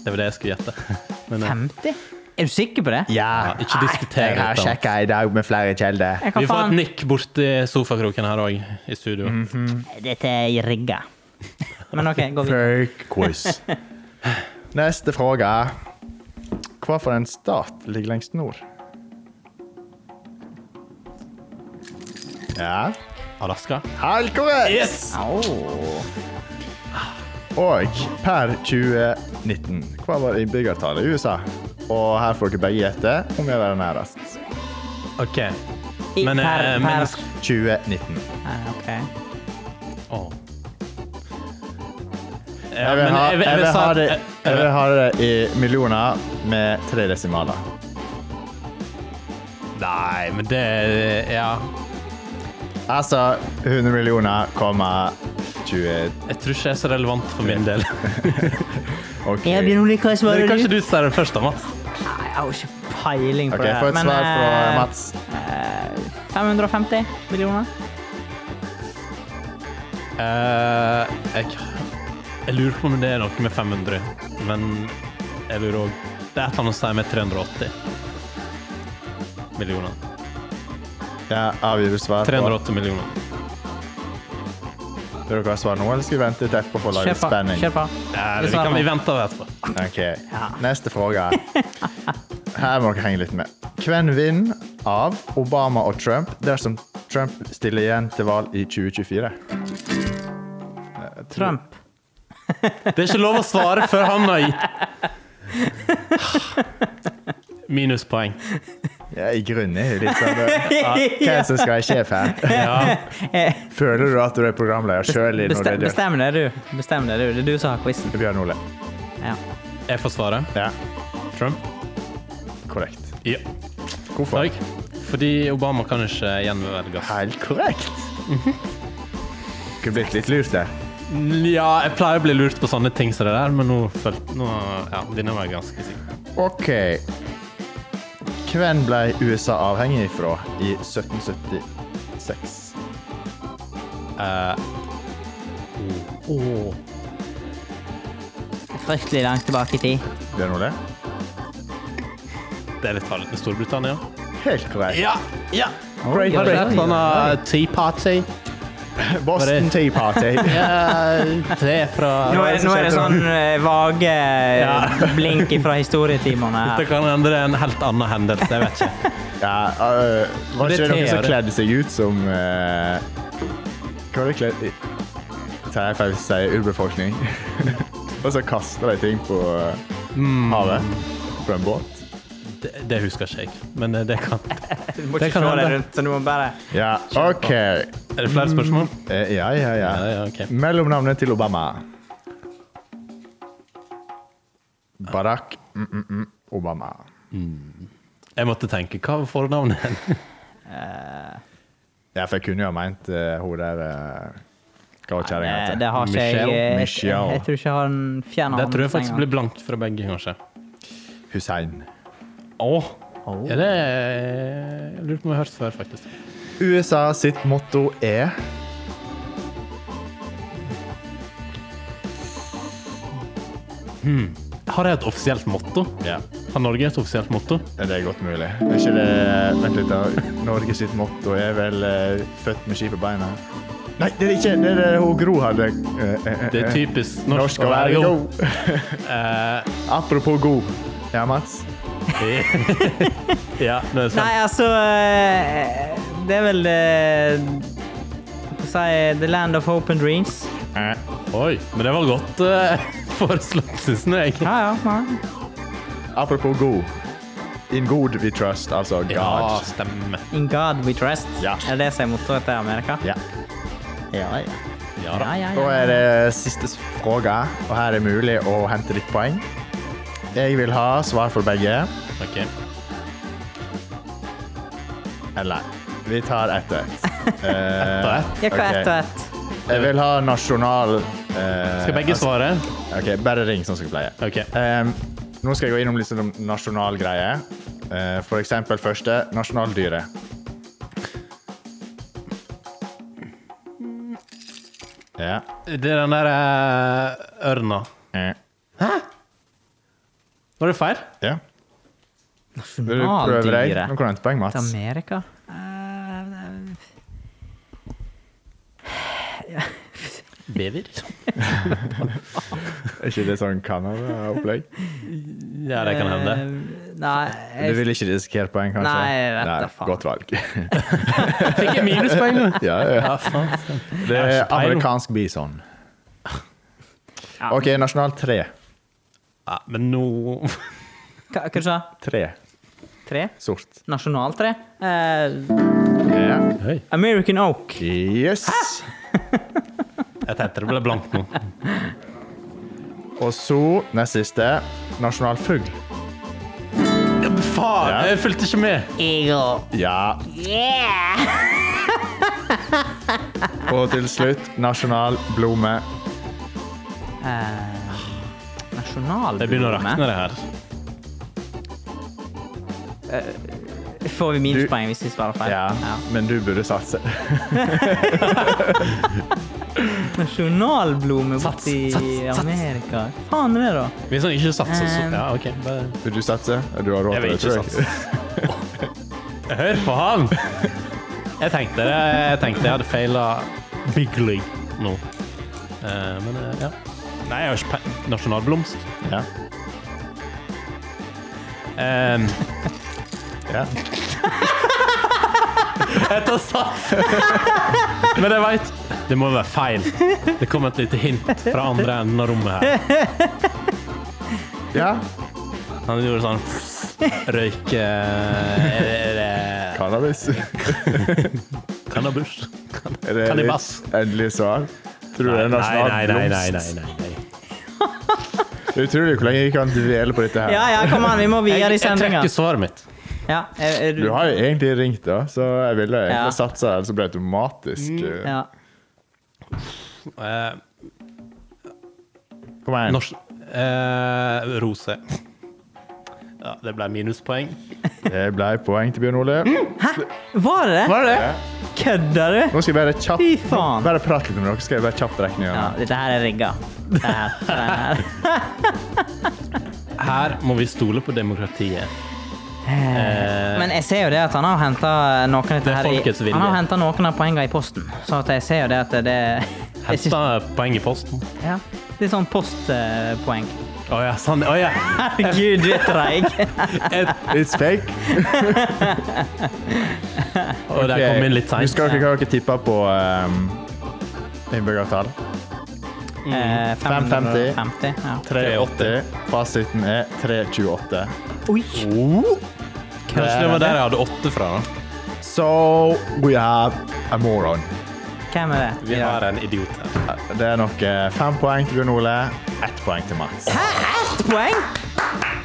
[SPEAKER 1] det var det jeg skulle gjette. Men, eh,
[SPEAKER 3] 50? Er du sikker på det?
[SPEAKER 2] Ja.
[SPEAKER 1] ikke diskuter
[SPEAKER 2] Jeg har
[SPEAKER 1] dette.
[SPEAKER 2] sjekka i dag med flere kilder.
[SPEAKER 1] vi
[SPEAKER 3] Jeg kan
[SPEAKER 1] får et
[SPEAKER 3] faen...
[SPEAKER 1] nikk borti sofakroken her òg, i studio.
[SPEAKER 3] Dette er rigga. Men OK, gå videre.
[SPEAKER 2] Fake quiz. Neste fråga. Hvilken stat ligger lengst nord? Ja.
[SPEAKER 1] Alaska.
[SPEAKER 2] Helt korrekt!
[SPEAKER 1] Yes!
[SPEAKER 3] Au.
[SPEAKER 2] Og per 2019, hva var innbyggertallet i USA? Og her får dere begge gjette om jeg var nærest.
[SPEAKER 1] OK.
[SPEAKER 3] I-
[SPEAKER 1] Men,
[SPEAKER 3] per,
[SPEAKER 1] eh,
[SPEAKER 3] per.
[SPEAKER 1] men- Eh,
[SPEAKER 2] 2019.
[SPEAKER 3] Ah, OK.
[SPEAKER 1] Åh. Ja,
[SPEAKER 2] Jeg vil
[SPEAKER 1] men
[SPEAKER 2] ha,
[SPEAKER 1] jeg vil- jeg vil
[SPEAKER 2] ha
[SPEAKER 1] sa- Eh,
[SPEAKER 2] det,
[SPEAKER 1] jeg-
[SPEAKER 2] jeg vil ha det i millioner med tre desimaler.
[SPEAKER 1] Nei, men det Ja.
[SPEAKER 2] Altså 100 millioner, komma 20
[SPEAKER 1] Jeg tror ikke det er så relevant for min del.
[SPEAKER 2] OK.
[SPEAKER 3] Jeg begynner å like hva jeg
[SPEAKER 1] Men
[SPEAKER 3] svarer.
[SPEAKER 1] Kanskje du
[SPEAKER 3] du?
[SPEAKER 1] ser den først, da, Mats?
[SPEAKER 3] Nei, jeg har ikke peiling på
[SPEAKER 2] OK,
[SPEAKER 3] det. her,
[SPEAKER 2] få et
[SPEAKER 3] men,
[SPEAKER 2] svar fra
[SPEAKER 3] eh,
[SPEAKER 2] Mats.
[SPEAKER 3] eh, 550 millioner?
[SPEAKER 1] Eh, jeg, jeg lurer på om det er noe med 500, men jeg lurer òg Det er et eller annet å si med 380 millioner.
[SPEAKER 2] Ja, avgir du svar? på-
[SPEAKER 1] 380 millioner.
[SPEAKER 2] Vil dere ha svar nå, eller skal vi vente litt etterpå for å lage
[SPEAKER 3] Kjør på.
[SPEAKER 2] spenning?
[SPEAKER 3] Kjør på.
[SPEAKER 1] Ja,
[SPEAKER 3] Du
[SPEAKER 1] vi,
[SPEAKER 3] svarer
[SPEAKER 1] kan,
[SPEAKER 3] nå.
[SPEAKER 1] vi venter etterpå.
[SPEAKER 2] Ok, neste fråga. Her må dere henge litt med. Hvem vinner av Obama og Trump dersom Trump stiller igjen til valg i Eh, 2024?
[SPEAKER 3] Trump.
[SPEAKER 1] Det er ikke lov å svare før han har gitt Minuspoeng.
[SPEAKER 2] Jeg er i grunnen er litt sånn eh, Hvem som skal være sjef her?
[SPEAKER 1] Ja.
[SPEAKER 2] Føler du at du er programleder sjøl i
[SPEAKER 3] Bestem,
[SPEAKER 2] Norge?
[SPEAKER 3] bestem deg, du. Bestem deg, du. Det er du som har quizen.
[SPEAKER 2] Bjørn Ole.
[SPEAKER 3] Ja.
[SPEAKER 1] Jeg får svare.
[SPEAKER 2] Ja,
[SPEAKER 1] Trump?
[SPEAKER 2] korrekt.
[SPEAKER 1] Ja.
[SPEAKER 2] Hvorfor?
[SPEAKER 1] Takk. Fordi Obama kan ikke gjenvelges.
[SPEAKER 2] Helt korrekt. Kunne blitt litt lurt, det.
[SPEAKER 1] Ja, jeg pleier å bli lurt på sånne ting som det der, men nå følte nå, Ja, denne var jeg ganske sikker.
[SPEAKER 2] OK. Hvem ble USA avhengig fra i 1776?
[SPEAKER 1] Åh
[SPEAKER 3] Fryktelig langt tilbake i tid.
[SPEAKER 2] Bjørn Ole?
[SPEAKER 1] Det er litt farlig med Storbritannia.
[SPEAKER 2] Helt korrekt.
[SPEAKER 1] Ja! ja.
[SPEAKER 2] Great
[SPEAKER 1] Har du sett
[SPEAKER 2] Britain.
[SPEAKER 1] denne Tea Party?
[SPEAKER 2] Boston
[SPEAKER 1] sånn, uh, Bare-
[SPEAKER 2] Tea Party.
[SPEAKER 1] Det er fra
[SPEAKER 3] Nå er, nå er det sånn eh, vage eh, blink fra historietimene
[SPEAKER 1] Det
[SPEAKER 3] her.
[SPEAKER 1] kan hende det er en helt annen hendelse. Jeg vet ikke.
[SPEAKER 2] Ja, øh, var
[SPEAKER 1] Det er
[SPEAKER 2] ikke det noen som
[SPEAKER 1] teer.
[SPEAKER 2] kledde seg ut som eh, Hva var det kledd i? Tar jeg feil hvis jeg sier urbefolkning? Og så kaster de ting på eh,
[SPEAKER 1] Mm.
[SPEAKER 2] havet fra en båt.
[SPEAKER 1] Det, det husker ikke jeg, men det kan
[SPEAKER 3] Du må
[SPEAKER 1] Det
[SPEAKER 3] ikke
[SPEAKER 1] kan
[SPEAKER 3] slå deg
[SPEAKER 1] hende.
[SPEAKER 3] rundt, så du må bare
[SPEAKER 2] Ja, OK.
[SPEAKER 1] Er det flere spørsmål?
[SPEAKER 2] Eh, ja, ja, ja.
[SPEAKER 1] Ja, ja, ok.
[SPEAKER 2] Mellomnavnet til Obama. Barack mm, mm, mm, Obama.
[SPEAKER 1] Jeg måtte tenke. Hva var fornavnet?
[SPEAKER 2] Ja, for jeg kunne jo ha meint eh, hun der uh, Hva var kjerringa
[SPEAKER 3] Eh,
[SPEAKER 2] heter?
[SPEAKER 3] Det har ikke jeg
[SPEAKER 1] Michelle?
[SPEAKER 3] eh,
[SPEAKER 2] Michelle.
[SPEAKER 3] Jeg tror ikke jeg har en fjern
[SPEAKER 1] Det tror jeg faktisk blir blankt fra begge, kanskje.
[SPEAKER 2] Hussein.
[SPEAKER 1] Åh. Ja, det er- jeg lurer på om jeg har hørt før, faktisk.
[SPEAKER 2] USA sitt motto er
[SPEAKER 1] Har jeg et offisielt motto?
[SPEAKER 2] Ja,
[SPEAKER 1] Har Norge et offisielt motto?
[SPEAKER 2] det er godt mulig. Er ikke det Vent litt, da. Norge sitt motto er vel eh, 'født med ski på beina'? Nei, det er det ikke det er det hun Gro hadde. Eh, eh, eh,
[SPEAKER 1] Det er
[SPEAKER 2] eh.
[SPEAKER 1] typisk
[SPEAKER 2] Norsk å være god.
[SPEAKER 1] Eh,
[SPEAKER 2] Apropos god. Ja, Mats?
[SPEAKER 1] ja, det sånn. er sant.
[SPEAKER 3] Nei, altså eh, Det er vel eh, Hva skal jeg si The Land of Hope and Dreams.
[SPEAKER 2] Eh,
[SPEAKER 1] Oi, men det var godt eh, foreslått, synes jeg.
[SPEAKER 3] Ja, ja. ja.
[SPEAKER 2] Apropos god. In God we trust, altså God.
[SPEAKER 1] Ja, stemmer.
[SPEAKER 3] In God we trust.
[SPEAKER 2] Ja.
[SPEAKER 3] Er det det som er mottoet til Amerika?
[SPEAKER 2] Ja.
[SPEAKER 3] Ja, ja.
[SPEAKER 1] Ja da.
[SPEAKER 3] ja,
[SPEAKER 2] Da er det siste spørsmål, og her er det mulig å hente litt poeng. Jeg vil ha svar for begge,
[SPEAKER 1] Ok.
[SPEAKER 2] eller Vi tar ett og ett. Ett
[SPEAKER 1] og ett?
[SPEAKER 3] Ja, hva ett og ett?
[SPEAKER 2] Jeg vil ha nasjonal eh,
[SPEAKER 1] Skal begge svare?
[SPEAKER 2] Ok, bare ring sånn som jeg pleier.
[SPEAKER 1] Ok.
[SPEAKER 2] Ehm, nå skal jeg gå innom litt sånn nasjonal greie. Eh, for eksempel første, nasjonaldyret. Ja.
[SPEAKER 1] Det er den der eh, ørna.
[SPEAKER 2] Eh,
[SPEAKER 1] Var det feil?
[SPEAKER 2] ja. Vil du prøve deg? Nå kan
[SPEAKER 3] Nasjonaldyret
[SPEAKER 2] du hente poeng,
[SPEAKER 3] til
[SPEAKER 2] Mats.
[SPEAKER 3] Amerika? Eh,
[SPEAKER 1] Bever?
[SPEAKER 2] Er ikke det sånn Canada-opplegg?
[SPEAKER 1] Ja, det kan hende.
[SPEAKER 3] eh, Nei,
[SPEAKER 2] Du
[SPEAKER 3] jeg,
[SPEAKER 2] vil ikke risikere poeng, kanskje?
[SPEAKER 3] Nei, jeg vet
[SPEAKER 2] Nei,
[SPEAKER 3] da faen.
[SPEAKER 2] Godt valg.
[SPEAKER 1] Fikk jeg minuspoeng nå?
[SPEAKER 2] ja, ja.
[SPEAKER 1] Ja, faen. stemmer.
[SPEAKER 2] Det
[SPEAKER 1] Jeg
[SPEAKER 2] er
[SPEAKER 1] har ikke peiling.
[SPEAKER 2] amerikansk bison.
[SPEAKER 3] Ja.
[SPEAKER 2] OK, nasjonal tre.
[SPEAKER 1] Ja, men nå
[SPEAKER 3] hva, hva du sa du?
[SPEAKER 2] Tre.
[SPEAKER 3] Tre?
[SPEAKER 2] Sort.
[SPEAKER 3] Nasjonaltre? Eh,
[SPEAKER 2] Ja.
[SPEAKER 1] Oi.
[SPEAKER 3] American Oak.
[SPEAKER 2] Yes.
[SPEAKER 1] Jeg tenkte det ble blankt nå.
[SPEAKER 2] Og så, nest siste, nasjonalfugl.
[SPEAKER 1] Ja, men faen!
[SPEAKER 2] Ja.
[SPEAKER 1] Jeg fulgte ikke med.
[SPEAKER 3] Eagle.
[SPEAKER 2] Ja. Og til slutt, nasjonal blomme.
[SPEAKER 3] Eh, nasjonalblome?
[SPEAKER 1] Det begynner å rakne, det her.
[SPEAKER 3] Får vi minuspoeng hvis vi svarer feil?
[SPEAKER 2] Ja, men du burde satse.
[SPEAKER 3] Nasjonalblome
[SPEAKER 1] Sats,
[SPEAKER 3] borti
[SPEAKER 1] sats, sats.
[SPEAKER 3] Amerika. Faen er det, da?
[SPEAKER 1] Hvis han ikke satser, så Ja, OK. Bare
[SPEAKER 2] Vil du satse? Du har råd
[SPEAKER 1] Jeg vil
[SPEAKER 2] til det,
[SPEAKER 1] ikke
[SPEAKER 2] tror jeg.
[SPEAKER 1] satse. Hør på han! Jeg tenkte, det, jeg, tenkte jeg hadde feila Big League nå. Eh, men eh, ja. Nei, jeg har ikke pe- nasjonalblomst.
[SPEAKER 2] Ja.
[SPEAKER 1] Um,
[SPEAKER 2] Ja.
[SPEAKER 1] jeg tar sats! Men jeg veit Det må være feil. Det kom et lite hint fra andre enden av rommet her.
[SPEAKER 2] ja.
[SPEAKER 1] Han gjorde sånn Røyke Er det, er det
[SPEAKER 2] Cannabis.
[SPEAKER 1] cannabis?
[SPEAKER 2] Er det
[SPEAKER 1] Cannabis.
[SPEAKER 2] ditt Endelig svar. Tror du det
[SPEAKER 1] Nei, nei,
[SPEAKER 2] er nasjonal
[SPEAKER 1] nei. nei, nei,
[SPEAKER 2] blomst?
[SPEAKER 1] nei, nei.
[SPEAKER 2] Det er utrolig hvor lenge vi kan dvele på dette her.
[SPEAKER 3] Ja, ja, kom an, vi må videre
[SPEAKER 1] Jeg,
[SPEAKER 3] i
[SPEAKER 1] jeg
[SPEAKER 3] sendinga.
[SPEAKER 1] trekker svaret mitt.
[SPEAKER 3] Ja, er, er
[SPEAKER 2] Du har jo egentlig ringt, da, så jeg ville egentlig
[SPEAKER 3] Ja.
[SPEAKER 2] satse, eller så ble det
[SPEAKER 1] Mm,
[SPEAKER 2] automatisk. eh,
[SPEAKER 3] ja.
[SPEAKER 1] Eh,
[SPEAKER 2] Kom igjen.
[SPEAKER 1] Norsk eh, Rose. Ja, det ble minuspoeng.
[SPEAKER 2] Det ble poeng til Bjørn Ole.
[SPEAKER 1] Mm.
[SPEAKER 3] Var det det?
[SPEAKER 1] Var det
[SPEAKER 2] Ja.
[SPEAKER 3] Kødder du?
[SPEAKER 2] Nå skal jeg bare kjapt
[SPEAKER 3] Fy faen.
[SPEAKER 2] Bare prat litt med dere, så skal jeg bare kjapt regne
[SPEAKER 3] Ja,
[SPEAKER 2] igjennom.
[SPEAKER 3] dette her er rigga. Det her, den her.
[SPEAKER 1] Her må vi stole på demokratiet. Eh,
[SPEAKER 3] Men jeg ser jo det at han har henta noen, av dette
[SPEAKER 1] Det er
[SPEAKER 3] her i-
[SPEAKER 1] folkets vilje.
[SPEAKER 3] han har hentet noen av poengene i posten. Så at jeg ser jo det at det jeg synes-
[SPEAKER 1] Henta poeng i posten. Å
[SPEAKER 3] ja, Det er sånn postpoeng.
[SPEAKER 1] ja, sann. Å ja.
[SPEAKER 3] Herregud, du er treig.
[SPEAKER 2] It's fake.
[SPEAKER 1] Og der kom inn litt seint.
[SPEAKER 2] Husker dere hva dere tippa på um, innbyggertall?
[SPEAKER 1] Mm.
[SPEAKER 3] Eh,
[SPEAKER 2] 550.
[SPEAKER 3] 550, ja.
[SPEAKER 2] 380. Fasiten er 328.
[SPEAKER 3] Oi!
[SPEAKER 1] Kanskje det var der jeg hadde åtte fra. da.
[SPEAKER 2] So we have a moron.
[SPEAKER 3] Hvem er det?
[SPEAKER 1] Vi har en idiot her.
[SPEAKER 2] Det er nok eh, fem poeng til Bjørn Ole, ett poeng til Mats.
[SPEAKER 3] Hæ, Eh, ett poeng?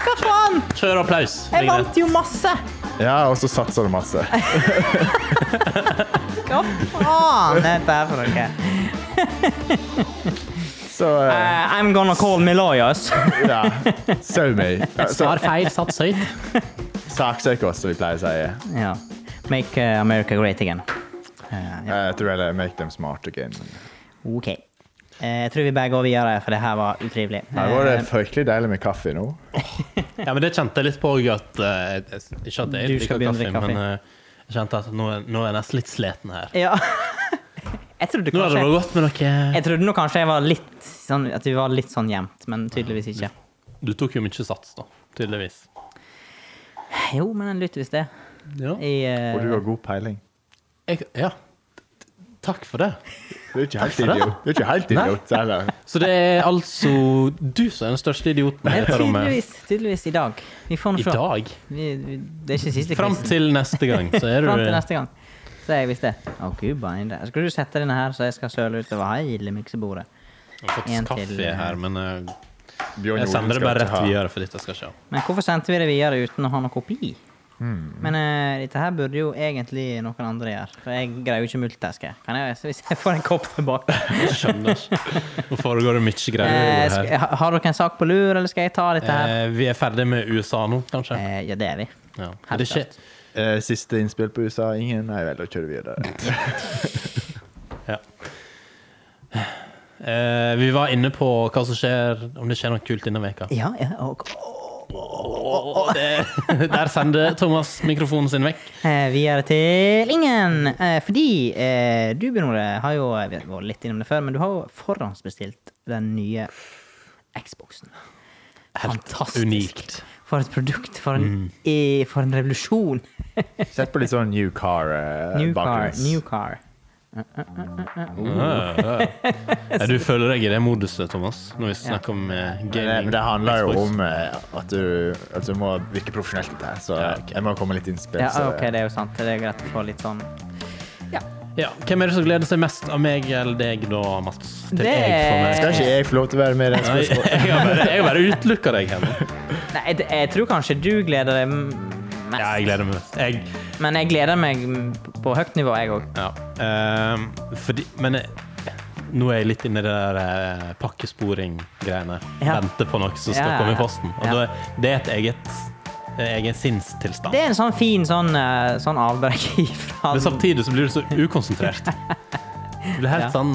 [SPEAKER 3] Hva faen?
[SPEAKER 1] Kjør applaus.
[SPEAKER 3] Jeg
[SPEAKER 1] Vignet.
[SPEAKER 3] vant jo masse!
[SPEAKER 2] Ja, og så satser du masse.
[SPEAKER 3] Hva faen er dette her for noe?
[SPEAKER 2] Så eh,
[SPEAKER 3] Eh, I'm gonna call me lawyers.
[SPEAKER 2] ja. So me.
[SPEAKER 1] Svar feil, sats høyt.
[SPEAKER 2] Saksøk oss, som vi pleier å si.
[SPEAKER 3] ja. Make eh, America great again. Eh, ja.
[SPEAKER 2] Jeg tror heller make them smart again.
[SPEAKER 3] OK. Eh, jeg tror vi bare går videre, for det her var utrivelig.
[SPEAKER 2] Her var det
[SPEAKER 3] Eh,
[SPEAKER 2] fryktelig deilig med kaffe nå.
[SPEAKER 1] Ja, men det kjente jeg litt på òg, at eh, jeg- Ikke at jeg
[SPEAKER 3] Du
[SPEAKER 1] liker
[SPEAKER 3] skal begynne å
[SPEAKER 1] kaffe,
[SPEAKER 3] drikke kaffe.
[SPEAKER 1] men eh, jeg kjente at nå, er- nå er jeg nesten litt sliten her.
[SPEAKER 3] ja. jeg, trodde
[SPEAKER 1] Nå hadde det
[SPEAKER 3] kanskje,
[SPEAKER 1] vært godt med noe
[SPEAKER 3] jeg trodde nå kanskje jeg var litt sånn, at vi var litt sånn jevnt, men tydeligvis ikke.
[SPEAKER 1] Du tok jo mye sats, da. Tydeligvis.
[SPEAKER 3] Jo, men en lytter visst det.
[SPEAKER 1] Ja.
[SPEAKER 3] I, eh,
[SPEAKER 2] Og du har god peiling.
[SPEAKER 1] Jeg, ja. Takk for det.
[SPEAKER 2] Du er ikke helt idiot. Du er ikke helt
[SPEAKER 1] Nei.
[SPEAKER 2] idiot heller.
[SPEAKER 1] Så det er altså du som er den største idioten i
[SPEAKER 3] Men
[SPEAKER 1] dette rommet
[SPEAKER 3] tydeligvis, tydeligvis i dag. Vi får nå
[SPEAKER 1] eh, i
[SPEAKER 3] se.
[SPEAKER 1] dag.
[SPEAKER 3] Vi, vi, det er ikke siste
[SPEAKER 1] Fram
[SPEAKER 3] quizen.
[SPEAKER 1] til neste gang, så er
[SPEAKER 3] Fram til
[SPEAKER 1] du
[SPEAKER 3] neste gang. Så er jeg visst det. Å, gud beinde. Skal du sette denne her, så jeg skal søle utover hele miksebordet?
[SPEAKER 1] Jeg har fått
[SPEAKER 3] En til,
[SPEAKER 1] kaffe
[SPEAKER 3] eh,
[SPEAKER 1] her, men eh,
[SPEAKER 2] Bjørn
[SPEAKER 1] jeg
[SPEAKER 2] Jolen
[SPEAKER 1] sender det
[SPEAKER 2] skal
[SPEAKER 1] bare
[SPEAKER 2] ikke
[SPEAKER 1] rett
[SPEAKER 2] ha-
[SPEAKER 1] videre, for dette skal skje.
[SPEAKER 3] Men hvorfor sendte vi det videre uten å ha noen kopi?
[SPEAKER 1] Hmm.
[SPEAKER 3] Men eh, dette her burde jo egentlig noen andre gjøre, for jeg greier jo ikke multitaske. Kan jeg, hvis jeg får en kopp tilbake
[SPEAKER 1] Jeg skjønner ikke. Nå foregår det mye
[SPEAKER 3] Eh,
[SPEAKER 1] greier
[SPEAKER 3] sk-
[SPEAKER 1] her.
[SPEAKER 3] ha- Har dere en sak på lur, eller skal jeg ta dette her?
[SPEAKER 1] Eh, Vi er ferdig med USA nå, kanskje?
[SPEAKER 3] Eh, ja, det er vi.
[SPEAKER 1] Ja. Er det ikke
[SPEAKER 2] Eh, siste innspill på USA? Ingen? Nei vel, da kjører vi videre.
[SPEAKER 1] Ja. Eh, vi var inne på hva som skjer, om det skjer noe kult denne veka.
[SPEAKER 3] Ja, ja, og,
[SPEAKER 1] Åh, det, der sender Thomas mikrofonen sin vekk.
[SPEAKER 3] eh, videre til ingen. Eh, fordi eh, du, Bjørn Ole, har jo Vi har vært litt innom det før, men du har jo forhåndsbestilt den nye Xboxen. Fantastisk.
[SPEAKER 1] Unikt.
[SPEAKER 3] For et produkt. For en,
[SPEAKER 1] Mm.
[SPEAKER 3] eh, for en revolusjon.
[SPEAKER 2] Sett på litt sånn new car eh,
[SPEAKER 3] New car.
[SPEAKER 2] bakgrunns.
[SPEAKER 3] New car.
[SPEAKER 1] Ah, ah. Ja, du føler deg i det moduset, Thomas, når vi snakker om eh,
[SPEAKER 2] Men det,
[SPEAKER 1] gaming.
[SPEAKER 2] men det handler jo
[SPEAKER 1] Xbox.
[SPEAKER 2] om eh, at du, at du må virke profesjonelt i dette, så
[SPEAKER 1] Ja, ok.
[SPEAKER 2] jeg må komme litt innspill.
[SPEAKER 3] Ja,
[SPEAKER 2] så-
[SPEAKER 3] OK, det er jo sant. Det er greit å få litt sånn
[SPEAKER 1] ja. Hvem er det som gleder seg mest av meg eller deg, da, Mats? Til
[SPEAKER 3] Det-
[SPEAKER 1] jeg, for meg.
[SPEAKER 2] Skal ikke jeg få lov til å være med i det
[SPEAKER 1] Nei,
[SPEAKER 2] spørsmålet?
[SPEAKER 1] jeg har bare, jeg har bare utelukka deg her. nå.
[SPEAKER 3] Nei, jeg, jeg tror kanskje du gleder deg m- mest.
[SPEAKER 1] Ja, jeg gleder meg mest. Jeg,
[SPEAKER 3] Men jeg gleder meg på høyt nivå, jeg òg.
[SPEAKER 1] ja. Ehm, fordi Men jeg, nå er jeg litt inni det der eh, pakkesporing-greiene.
[SPEAKER 3] Ja.
[SPEAKER 1] Venter på noe som
[SPEAKER 3] Ja,
[SPEAKER 1] skal
[SPEAKER 3] ja,
[SPEAKER 1] komme i
[SPEAKER 3] ja.
[SPEAKER 1] posten. Og
[SPEAKER 3] Ja.
[SPEAKER 1] da, det er et eget en egen sinnstilstand.
[SPEAKER 3] Det er en sånn fin sånn, eh, sånn avbrekk ifra
[SPEAKER 1] Men samtidig så blir du så ukonsentrert. Det blir helt
[SPEAKER 3] Ja.
[SPEAKER 1] sånn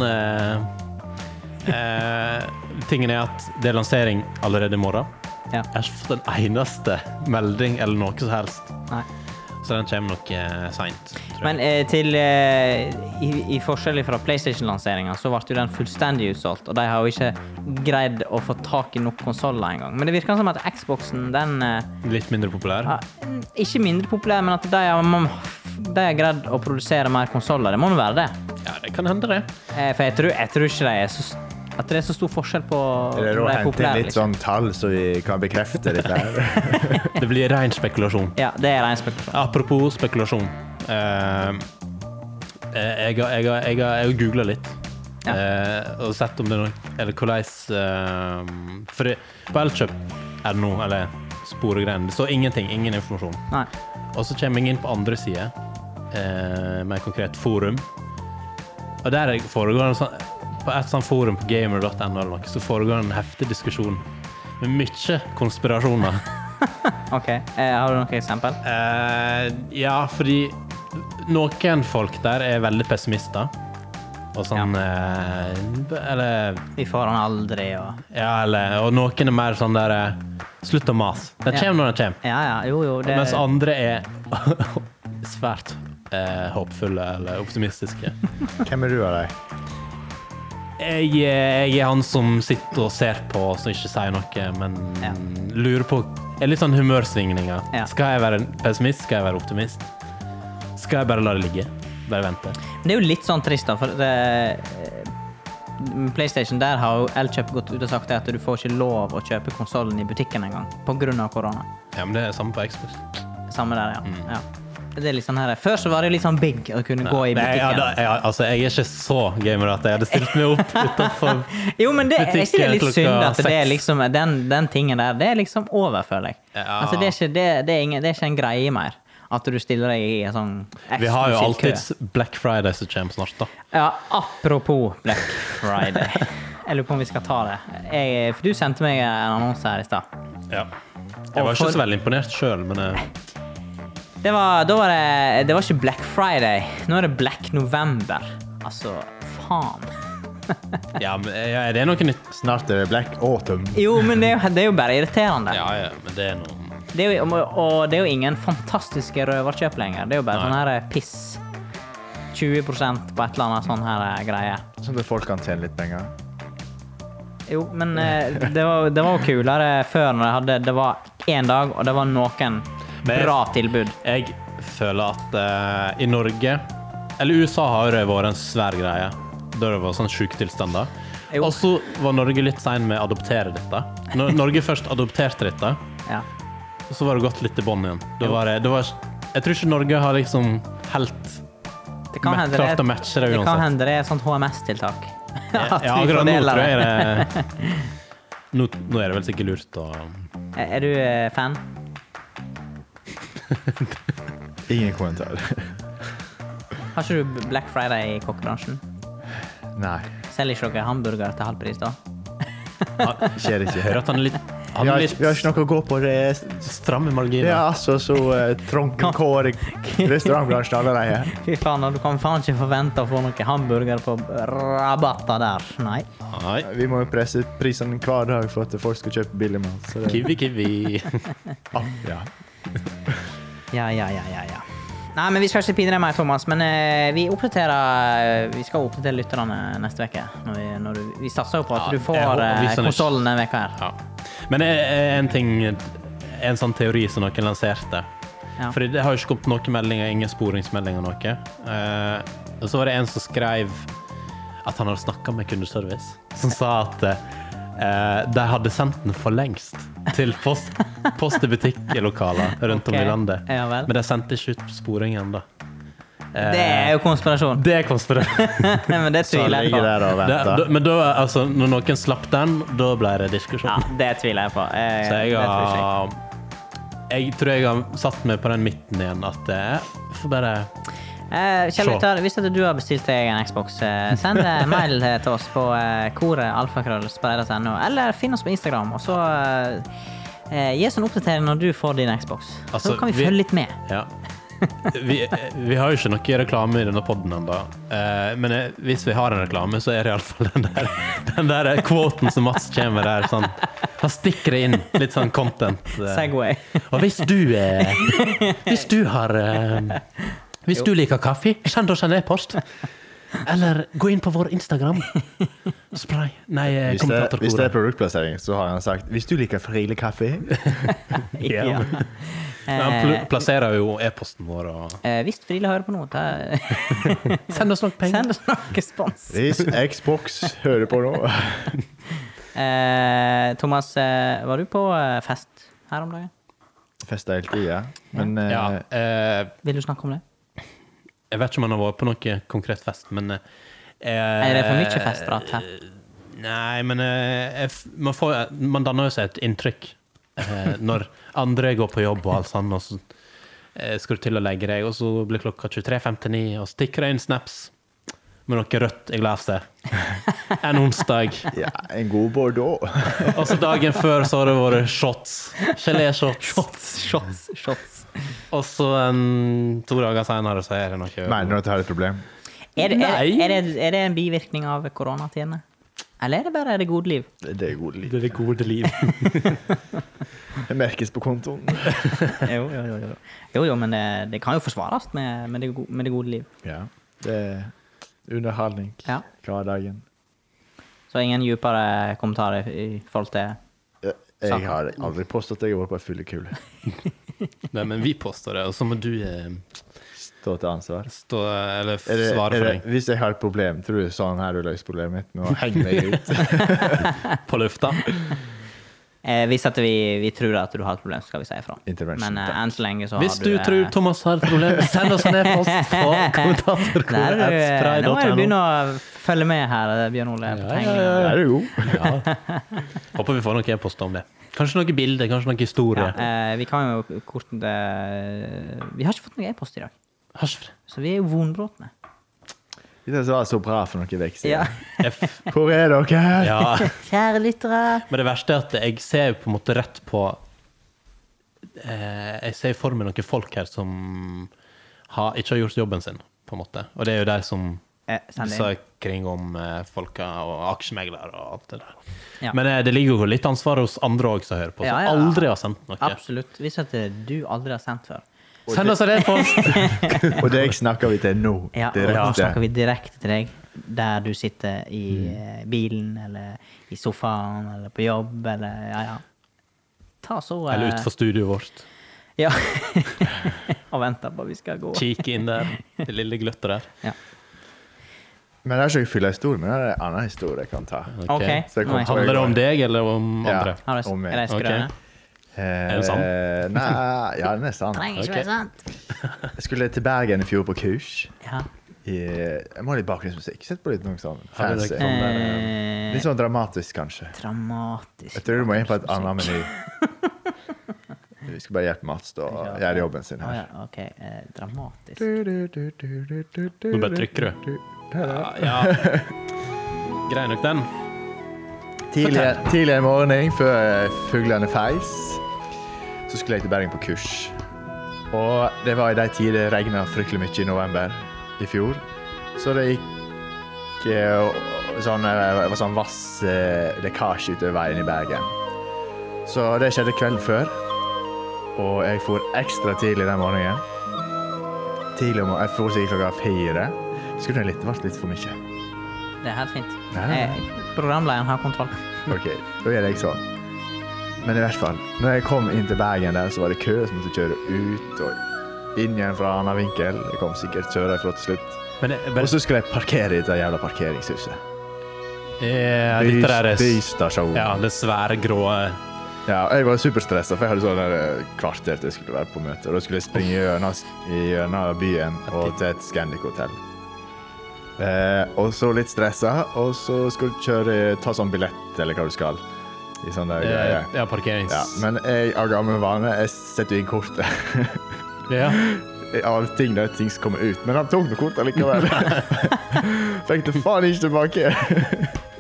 [SPEAKER 1] eh, eh, Tingen er at det er lansering allerede i morgen.
[SPEAKER 3] Ja.
[SPEAKER 1] Jeg har ikke fått en eneste melding eller noe som helst,
[SPEAKER 3] Nei.
[SPEAKER 1] så den kommer nok uh, seint.
[SPEAKER 3] Men eh, til eh, i, I forskjell fra PlayStation-lanseringa, så ble jo den fullstendig utsolgt. Og de har jo ikke greid å få tak i nok konsoller engang. Men det virker som at Xboxen, den eh,
[SPEAKER 1] Litt mindre populær.
[SPEAKER 3] ja, Ikke mindre populær, men at de har, man- de har greid å produsere mer konsoller. Det må nå være det.
[SPEAKER 1] Ja, det kan hende, det.
[SPEAKER 3] Eh, for jeg tror, jeg tror ikke de er så, st- at det er så stor forskjell på
[SPEAKER 2] Det er
[SPEAKER 3] om
[SPEAKER 2] å
[SPEAKER 3] de
[SPEAKER 2] hente inn
[SPEAKER 3] populære, liksom.
[SPEAKER 2] litt sånn tall, så vi kan bekrefte dette her.
[SPEAKER 1] Det blir ren spekulasjon.
[SPEAKER 3] Ja, det er ren spekulasjon.
[SPEAKER 1] Apropos spekulasjon. Eh, eh, jeg har- jeg har- jeg har- jeg har googla litt.
[SPEAKER 3] Ja.
[SPEAKER 1] Eh, og sett om det er noe Eller hvordan eh, For det- på Elkjøp er det noe, eller sporegreiene. Det står ingenting. Ingen informasjon.
[SPEAKER 3] Nei.
[SPEAKER 1] Og så kommer jeg inn på andre side, eh, mer konkret forum. Og der foregår det en sånn På et sånt forum på gamer.no eller noe, så foregår det en heftig diskusjon med mye konspirasjoner.
[SPEAKER 3] OK. Eh, har du noe eksempel?
[SPEAKER 1] Eh, ja, fordi noen folk der er veldig pessimister. Og sånn eh, Eller
[SPEAKER 3] Vi får han aldri og
[SPEAKER 1] Ja, eller Og noen er mer sånn der eh, Slutt å mase. Den
[SPEAKER 3] Ja.
[SPEAKER 1] kommer når den kommer.
[SPEAKER 3] Ja, ja. Jo, jo. Det,
[SPEAKER 1] Mens andre er svært eh, håpfulle eller optimistiske.
[SPEAKER 2] Hvem er du av deg?
[SPEAKER 1] Jeg, eh, jeg er han som sitter og ser på, som ikke sier noe, men
[SPEAKER 3] Ja.
[SPEAKER 1] lurer på er Litt sånn humørsvingninger.
[SPEAKER 3] Ja.
[SPEAKER 1] Skal jeg være pessimist? Skal jeg være optimist? Skal jeg bare la det ligge? Bare vente?
[SPEAKER 3] det er jo litt sånn trist, da, for det, eh, PlayStation der har jo Elkjøp gått ut og sagt det at du får ikke lov å kjøpe konsollen i butikken engang pga. korona.
[SPEAKER 1] Ja, men det er samme på Xbox.
[SPEAKER 3] Samme der, ja. ja. Det er litt sånn her. Før så var det jo litt sånn big å kunne gå i
[SPEAKER 1] Nei, Mm. ja,
[SPEAKER 3] butikken.
[SPEAKER 1] da, ja, altså, jeg er ikke så gamer at jeg hadde stilt meg opp utenfor
[SPEAKER 3] Jo, men det, er ikke det litt
[SPEAKER 1] Butikken
[SPEAKER 3] synd at
[SPEAKER 1] klokka
[SPEAKER 3] det er
[SPEAKER 1] seks.
[SPEAKER 3] liksom, den, den tingen der, det er liksom over, føler jeg.
[SPEAKER 1] Ja.
[SPEAKER 3] Altså, det er, ikke, det, det, er ingen, det er ikke en greie mer, at du stiller deg i en sånn
[SPEAKER 1] Vi har jo
[SPEAKER 3] eksklusiv kø.
[SPEAKER 1] alltids Black Friday som kommer snart, da.
[SPEAKER 3] Ja, apropos Black Friday. Jeg lurer på om vi skal ta det. Jeg, for du sendte meg en annonse her i stad.
[SPEAKER 1] Ja. Jeg var
[SPEAKER 3] Og for-
[SPEAKER 1] ikke så veldig imponert sjøl, men eh,
[SPEAKER 3] Det var, da var det, det var ikke Black Friday. Nå er det Black November. Altså, faen.
[SPEAKER 1] ja, men, ja, det er noe nytt.
[SPEAKER 2] Snart er det Black Autumn.
[SPEAKER 3] Jo, men det er jo, det er jo bare irriterende.
[SPEAKER 1] Ja, ja, men det er noe
[SPEAKER 3] Det er jo, og det er jo ingen fantastiske røverkjøp lenger. Det er jo bare
[SPEAKER 1] Nei.
[SPEAKER 3] sånn her piss. 20 på et eller annet sånn her greie.
[SPEAKER 2] Sånn at folk kan tjene litt penger.
[SPEAKER 3] Jo, men eh, det var, det var jo kulere før når jeg hadde Det var én dag, og det var noen
[SPEAKER 1] Men-
[SPEAKER 3] bra tilbud.
[SPEAKER 1] Jeg føler at eh, i Norge Eller USA har jo vært en svær greie. Da det var sånn sjuketilstander.
[SPEAKER 3] Jo.
[SPEAKER 1] Og så var Norge litt sein med å adoptere dette. Når Norge først adopterte dette,
[SPEAKER 3] Ja.
[SPEAKER 1] så var det gått litt i bånn igjen. Da var det, det var, jeg tror ikke Norge har liksom helt
[SPEAKER 3] Det kan
[SPEAKER 1] Men
[SPEAKER 3] hende det
[SPEAKER 1] klart å
[SPEAKER 3] er,
[SPEAKER 1] matche det
[SPEAKER 3] det
[SPEAKER 1] uansett.
[SPEAKER 3] kan hende det er et sånt HMS-tiltak.
[SPEAKER 1] Ja,
[SPEAKER 3] At vi
[SPEAKER 1] akkurat nå
[SPEAKER 3] fordeler
[SPEAKER 1] tror
[SPEAKER 3] det.
[SPEAKER 1] jeg det nå, nå er det vel sikkert lurt å
[SPEAKER 3] Er er du eh, fan?
[SPEAKER 2] Ingen kommentar.
[SPEAKER 3] Har ikke du Black Friday i kokkebransjen?
[SPEAKER 2] Nei.
[SPEAKER 3] Selger ikke dere hamburgere til halv pris, da?
[SPEAKER 2] Skjer ikke.
[SPEAKER 1] høre at han er litt,
[SPEAKER 2] Vi
[SPEAKER 1] han er
[SPEAKER 2] har, vi har
[SPEAKER 1] litt
[SPEAKER 2] ikke noe å gå på. Det er
[SPEAKER 1] stram i marginen.
[SPEAKER 2] det er altså så eh, trange kår i restaurantbransjen allerede.
[SPEAKER 3] Fy faen, og du kan faen ikke forvente å få noen hamburger på rabatter der. Nei.
[SPEAKER 1] Nei.
[SPEAKER 2] Vi må jo presse prisene hver dag for at folk skal kjøpe billig mat. Så det,
[SPEAKER 1] Kiwi, kiwi.
[SPEAKER 2] ah, ja.
[SPEAKER 3] Ja, ja, ja, ja, ja. Nei, men vi skal ikke pine deg mer, Thomas. Men eh, vi oppdaterer eh, Vi skal oppdatere lytterne neste uke. Når vi, når du, vi satser jo på at
[SPEAKER 1] Ja,
[SPEAKER 3] du får
[SPEAKER 1] jeg håper-
[SPEAKER 3] eh,
[SPEAKER 1] hvis han ikke-
[SPEAKER 3] konsollen denne veka her.
[SPEAKER 1] Ja. Men eh, en ting En sånn teori som noen lanserte.
[SPEAKER 3] Ja.
[SPEAKER 1] Fordi det har jo ikke kommet noen meldinger, ingen sporingsmeldinger. Noe. Eh, og så var det en som skrev at han hadde snakka med kundeservice, som sa at eh, de hadde sendt den for lengst til post, post i butikklokaler rundt
[SPEAKER 3] Ok.
[SPEAKER 1] om i landet.
[SPEAKER 3] Ja vel.
[SPEAKER 1] Men de sendte ikke ut sporing ennå. Eh,
[SPEAKER 3] Det er jo konspirasjon.
[SPEAKER 1] Det er konspirasjon.
[SPEAKER 3] men det
[SPEAKER 2] Så
[SPEAKER 3] tviler jeg
[SPEAKER 2] ligger
[SPEAKER 3] på.
[SPEAKER 2] der og
[SPEAKER 1] Det- da-
[SPEAKER 2] venter.
[SPEAKER 1] Men da, altså, når noen slapp den, da ble det diskusjon.
[SPEAKER 3] Ja, det tviler jeg på. Eh,
[SPEAKER 1] Så jeg
[SPEAKER 3] det tror ikke jeg.
[SPEAKER 1] har Jeg tror jeg har satt meg på den midten igjen, at det er for bare
[SPEAKER 3] Eh, Kjell
[SPEAKER 1] Se.
[SPEAKER 3] Viktor, hvis at du har bestilt deg en Xbox, eh, send en mail eh, til oss på eh, koretalfakrøllspreidas.no, eller finn oss på Instagram, og så eh, eh, gi oss en oppdatering når du får din Xbox. så
[SPEAKER 1] Altså,
[SPEAKER 3] kan vi,
[SPEAKER 1] vi-
[SPEAKER 3] følge litt med.
[SPEAKER 1] Ja. Vi, eh, vi har jo ikke noe reklame i denne poden ennå, Eh, men eh, hvis vi har en reklame, så er det iallfall den der Den der eh, kvoten som Mats kommer med der. Sånn. Han stikker det inn. Litt sånn content. eh.
[SPEAKER 3] Segway.
[SPEAKER 1] Og hvis du eh, Hvis du har eh, Hvis du liker kaffe, send oss en e-post. Eller gå inn på vår Instagram. Spray. Nei, eh,
[SPEAKER 2] Hvis det, hvis det er
[SPEAKER 1] kommentatorkoret.
[SPEAKER 2] produktplassering, så har han sagt hvis du liker frilig kaffe
[SPEAKER 1] Ja. Han
[SPEAKER 3] Ja. Eh,
[SPEAKER 1] pl plasserer jo e-posten vår og
[SPEAKER 3] eh, hvis Friele hører på noe, ta,
[SPEAKER 1] Send oss nok penger.
[SPEAKER 3] send oss noe spons.
[SPEAKER 2] Hvis Xbox hører på nå
[SPEAKER 3] Eh, Thomas, eh, var du på eh, fest her om dagen?
[SPEAKER 2] Fester hele tida. Men eh,
[SPEAKER 1] Ja, eh,
[SPEAKER 3] Vil du snakke om det?
[SPEAKER 1] jeg vet ikke om han har vært på noe konkret fest, men eh,
[SPEAKER 3] Er det for mye festprat her?
[SPEAKER 1] Nei, men eh, jeg f- man, får, man danner jo seg et inntrykk eh, når andre går på jobb og alt sånn, og så eh, skal du til å legge deg, og så blir klokka 23.59, og så tikker det inn snaps med noe rødt i glasset. En onsdag.
[SPEAKER 2] ja, en god bordeaux.
[SPEAKER 1] Og så dagen før så har det vært shots. Geléshots.
[SPEAKER 3] Shots, shots, shots.
[SPEAKER 1] Og så en, to dager senere så er det noe
[SPEAKER 2] Mener du at jeg har et problem?
[SPEAKER 3] Er det, er,
[SPEAKER 1] Nei.
[SPEAKER 3] er, det, er det en bivirkning av koronatidene? Eller er det bare det gode liv?
[SPEAKER 2] Det det er god lyd.
[SPEAKER 1] Det er det gode liv.
[SPEAKER 2] Det merkes på kontoen.
[SPEAKER 3] jo, jo, jo, jo. jo, jo, men det, det kan jo forsvares med, med, det, go- med det gode liv.
[SPEAKER 2] Ja. Det er underholdning
[SPEAKER 3] Ja.
[SPEAKER 2] hverdagen.
[SPEAKER 3] Så ingen dypere kommentarer i forhold til
[SPEAKER 2] Jeg jeg har aldri påstått at jeg har vært på ei fyllekule.
[SPEAKER 1] Nei, men vi påstår det, og så må du eh,
[SPEAKER 2] Stå til ansvar.
[SPEAKER 1] stå Eller f-
[SPEAKER 2] Er det,
[SPEAKER 1] svare
[SPEAKER 2] er
[SPEAKER 1] for
[SPEAKER 2] det,
[SPEAKER 1] deg.
[SPEAKER 2] hvis jeg har et problem, tror du sånn her du løser problemet mitt med å henge meg ut?
[SPEAKER 1] På lufta.
[SPEAKER 3] eh, Hvis at vi, vi tror at du har et problem, så skal vi si ifra.
[SPEAKER 2] Intervention,
[SPEAKER 3] Men eh,
[SPEAKER 2] takk.
[SPEAKER 3] enn så lenge så
[SPEAKER 1] Hvis
[SPEAKER 3] har
[SPEAKER 1] du
[SPEAKER 3] eh,
[SPEAKER 1] tror Thomas har et problem, send oss en e-post på
[SPEAKER 3] Der, du, eh, Nå må du begynne
[SPEAKER 1] kommentatorkoret.no.
[SPEAKER 3] å følge med her, eh, Bjørn Ole. på
[SPEAKER 1] Ja, ja,
[SPEAKER 3] tegningen.
[SPEAKER 2] Der er du god.
[SPEAKER 1] Håper vi får noen e-poster om det. Kanskje noen bilder, kanskje noen
[SPEAKER 3] Ja,
[SPEAKER 1] historier.
[SPEAKER 3] eh, vi kan jo kort eh, Vi har ikke fått noen e-post i dag,
[SPEAKER 1] Har ikke det.
[SPEAKER 3] så vi er jo vonbrotne.
[SPEAKER 2] Det som var så bra for noen vekst.
[SPEAKER 3] Ja.
[SPEAKER 1] F.
[SPEAKER 2] Hvor er dere?
[SPEAKER 1] Ja.
[SPEAKER 3] Kjære lyttere.
[SPEAKER 1] Men det verste er at jeg ser jo på en måte rett på eh, Jeg ser for meg noen folk her som har, ikke har gjort jobben sin, på en måte. Og det er jo de som
[SPEAKER 3] Eh, send det
[SPEAKER 1] sa
[SPEAKER 3] inn.
[SPEAKER 1] kring om eh, folka og aksjemeglere og alt det der.
[SPEAKER 3] Ja.
[SPEAKER 1] Men eh, det ligger jo litt ansvar hos andre òg som hører på, som
[SPEAKER 3] Ja, ja, ja.
[SPEAKER 1] aldri har sendt noe.
[SPEAKER 3] Absolutt. Hvis at du aldri har sendt før.
[SPEAKER 1] Send oss en e-post!
[SPEAKER 2] Og det snakker vi til nå.
[SPEAKER 3] Ja, og nå
[SPEAKER 2] Direkte.
[SPEAKER 3] snakker vi direkte til deg der du sitter i
[SPEAKER 2] Mm.
[SPEAKER 3] eh, bilen eller i sofaen eller på jobb eller ja, ja. Ta så eh,
[SPEAKER 1] Eller utenfor studioet vårt.
[SPEAKER 3] Ja. og venter på at vi skal gå.
[SPEAKER 1] Kikke inn der, det lille gløttet der.
[SPEAKER 3] Ja.
[SPEAKER 2] Men det er ikke jeg fyller historien, men det er en annen historie jeg kan ta.
[SPEAKER 1] Ok.
[SPEAKER 3] OK.
[SPEAKER 2] Så jeg
[SPEAKER 3] nå er
[SPEAKER 2] kom
[SPEAKER 3] jeg-
[SPEAKER 2] på-
[SPEAKER 1] Handler det om deg eller om
[SPEAKER 2] Ja.
[SPEAKER 1] andre?
[SPEAKER 3] Har du,
[SPEAKER 2] Om
[SPEAKER 3] er
[SPEAKER 2] meg.
[SPEAKER 3] de
[SPEAKER 1] Ok.
[SPEAKER 3] skrøne?
[SPEAKER 2] Er
[SPEAKER 1] det sant?
[SPEAKER 2] Eh, Nei, ja, den er sant.
[SPEAKER 3] Trenger ikke
[SPEAKER 1] Ok.
[SPEAKER 3] være sant.
[SPEAKER 2] Jeg skulle til Bergen i fjor på kurs.
[SPEAKER 3] Ja.
[SPEAKER 2] I, jeg må ha litt bakgrunnsmusikk. Sett på litt noe sånn
[SPEAKER 1] Har du det
[SPEAKER 2] fancy.
[SPEAKER 1] sånn der,
[SPEAKER 3] Eh,
[SPEAKER 2] Litt sånn dramatisk, kanskje.
[SPEAKER 3] Dramatisk.
[SPEAKER 2] Jeg tror du må inn på et annet meny. Vi skal bare hjelpe Mats da, å gjøre jobben sin
[SPEAKER 3] Å
[SPEAKER 2] her.
[SPEAKER 3] ja, OK. Eh, dramatisk.
[SPEAKER 2] Nå
[SPEAKER 1] Nå bare trykker du. Ja, ja. Grei nok, den.
[SPEAKER 2] Tidlig, tidlig en morgen før eh, fuglene feis, så skulle jeg til Bergen på kurs. Og det var i de tider det regna fryktelig mye i november i fjor. Så det gikk eh, og- sånn, eh, det var sånn vass eh, lekkasje utover veien i Bergen. Så det skjedde kvelden før, og jeg for ekstra tidlig den morgenen. Tidlig om, jeg for sikkert klokka fire. Skulle det litt, vært litt for mye.
[SPEAKER 3] Det er helt fint.
[SPEAKER 2] Nei, nei, nei.
[SPEAKER 3] Eh, Programlederen har kontroll.
[SPEAKER 2] Ok, da gjør jeg sånn. Men i hvert fall, når jeg kom inn til Bergen der, så var det kø som måtte kjøre ut og inn igjen fra annen vinkel. Jeg kom sikkert kjøre ifra til slutt.
[SPEAKER 1] Men det,
[SPEAKER 2] Og
[SPEAKER 1] bare,
[SPEAKER 2] så skulle jeg parkere i det jævla parkeringshuset.
[SPEAKER 1] ja, dette der er
[SPEAKER 2] Bystasjon.
[SPEAKER 1] ja, det svære, grå eh,
[SPEAKER 2] Ja, og jeg var superstressa, for jeg hadde sånn der eh, kvarter til jeg skulle være på møte. Og da skulle jeg springe gjennom, i gjennom byen og til et Scandic-hotell. Eh, og så litt stressa, og så skal du kjøre, ta sånn billett, eller hva du skal. I sånn der greie.
[SPEAKER 1] eh, ja, parkerings...
[SPEAKER 2] Ja, men jeg av gammel vane jeg setter jo inn kortet.
[SPEAKER 1] Ja.
[SPEAKER 2] Av ting der ting som kommer ut. Men han tok nå kortet likevel. Fikk det faen ikke tilbake.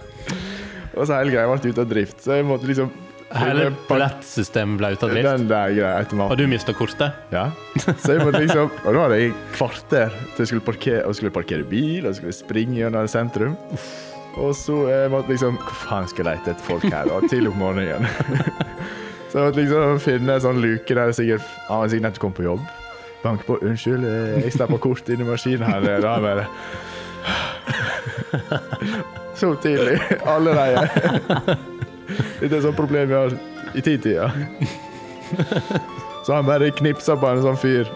[SPEAKER 2] Og så hele greia ble ute av drift, så jeg måtte liksom
[SPEAKER 1] Hele billettsystemet ble ute av drift.
[SPEAKER 2] Den der greia
[SPEAKER 1] Og
[SPEAKER 2] automaten.
[SPEAKER 1] du mista kortet.
[SPEAKER 2] Ja. Så jeg måtte liksom Og nå hadde jeg kvarter til jeg skulle parkere, og skulle parkere bil, og skulle springe gjennom sentrum. Og så eh, måtte liksom Hva faen skal jeg lete etter folk her, da? Tidlig på morgenen. Så jeg måtte liksom finne en sånn luke der jeg sikkert Han hadde sikkert nettopp kommet på jobb. Bank på. Unnskyld, eh, jeg stappa kort inn i maskinen her. eh, Da bare Så tidlig. Allerede. Dette er sånn problem vi har i titida. Så han bare knipsa på en sånn fyr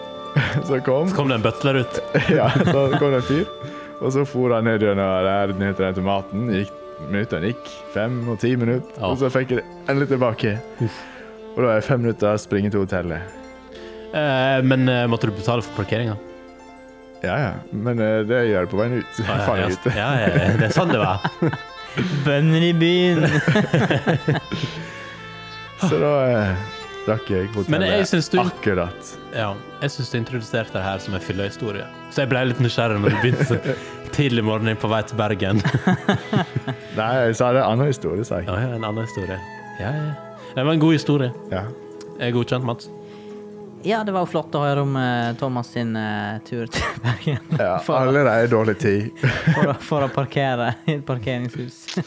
[SPEAKER 2] som kom.
[SPEAKER 1] Så kom det en butler ut.
[SPEAKER 2] Ja, så kom det en fyr, og så for han ned gjennom der ned til den tomaten. Gikk, minuttene gikk. Fem og ti minutter.
[SPEAKER 1] Ja.
[SPEAKER 2] Og så fikk jeg det endelig tilbake. Og da er det fem minutter å springe til hotellet.
[SPEAKER 1] Eh, men eh, måtte du betale for parkeringa?
[SPEAKER 2] Ja, ja. Men eh, det gjør det på veien ut.
[SPEAKER 1] Ja,
[SPEAKER 2] Faen
[SPEAKER 1] ja,
[SPEAKER 2] ut.
[SPEAKER 1] ja, ja, det er sånn det var.
[SPEAKER 3] Bønder i byen!
[SPEAKER 2] Så da eh, rakk jeg
[SPEAKER 1] Men jeg
[SPEAKER 2] hotellet
[SPEAKER 1] synes du-
[SPEAKER 2] akkurat.
[SPEAKER 1] Ja, jeg syns du introduserte det her som en fyllehistorie. Så jeg ble litt nysgjerrig når du begynte så tidlig morgen på vei til Bergen.
[SPEAKER 2] Nei, jeg sa det er en annen historie, sa jeg.
[SPEAKER 1] Ja, ja, en annen historie. Ja, ja. Det var en god historie.
[SPEAKER 2] Ja.
[SPEAKER 1] Jeg er godkjent, Mats.
[SPEAKER 3] Ja, det var jo flott å høre om eh, Thomas sin eh, tur til Bergen
[SPEAKER 2] Ja,
[SPEAKER 3] for,
[SPEAKER 2] allerede dårlig tid.
[SPEAKER 3] for, å- for å parkere i et parkeringshus.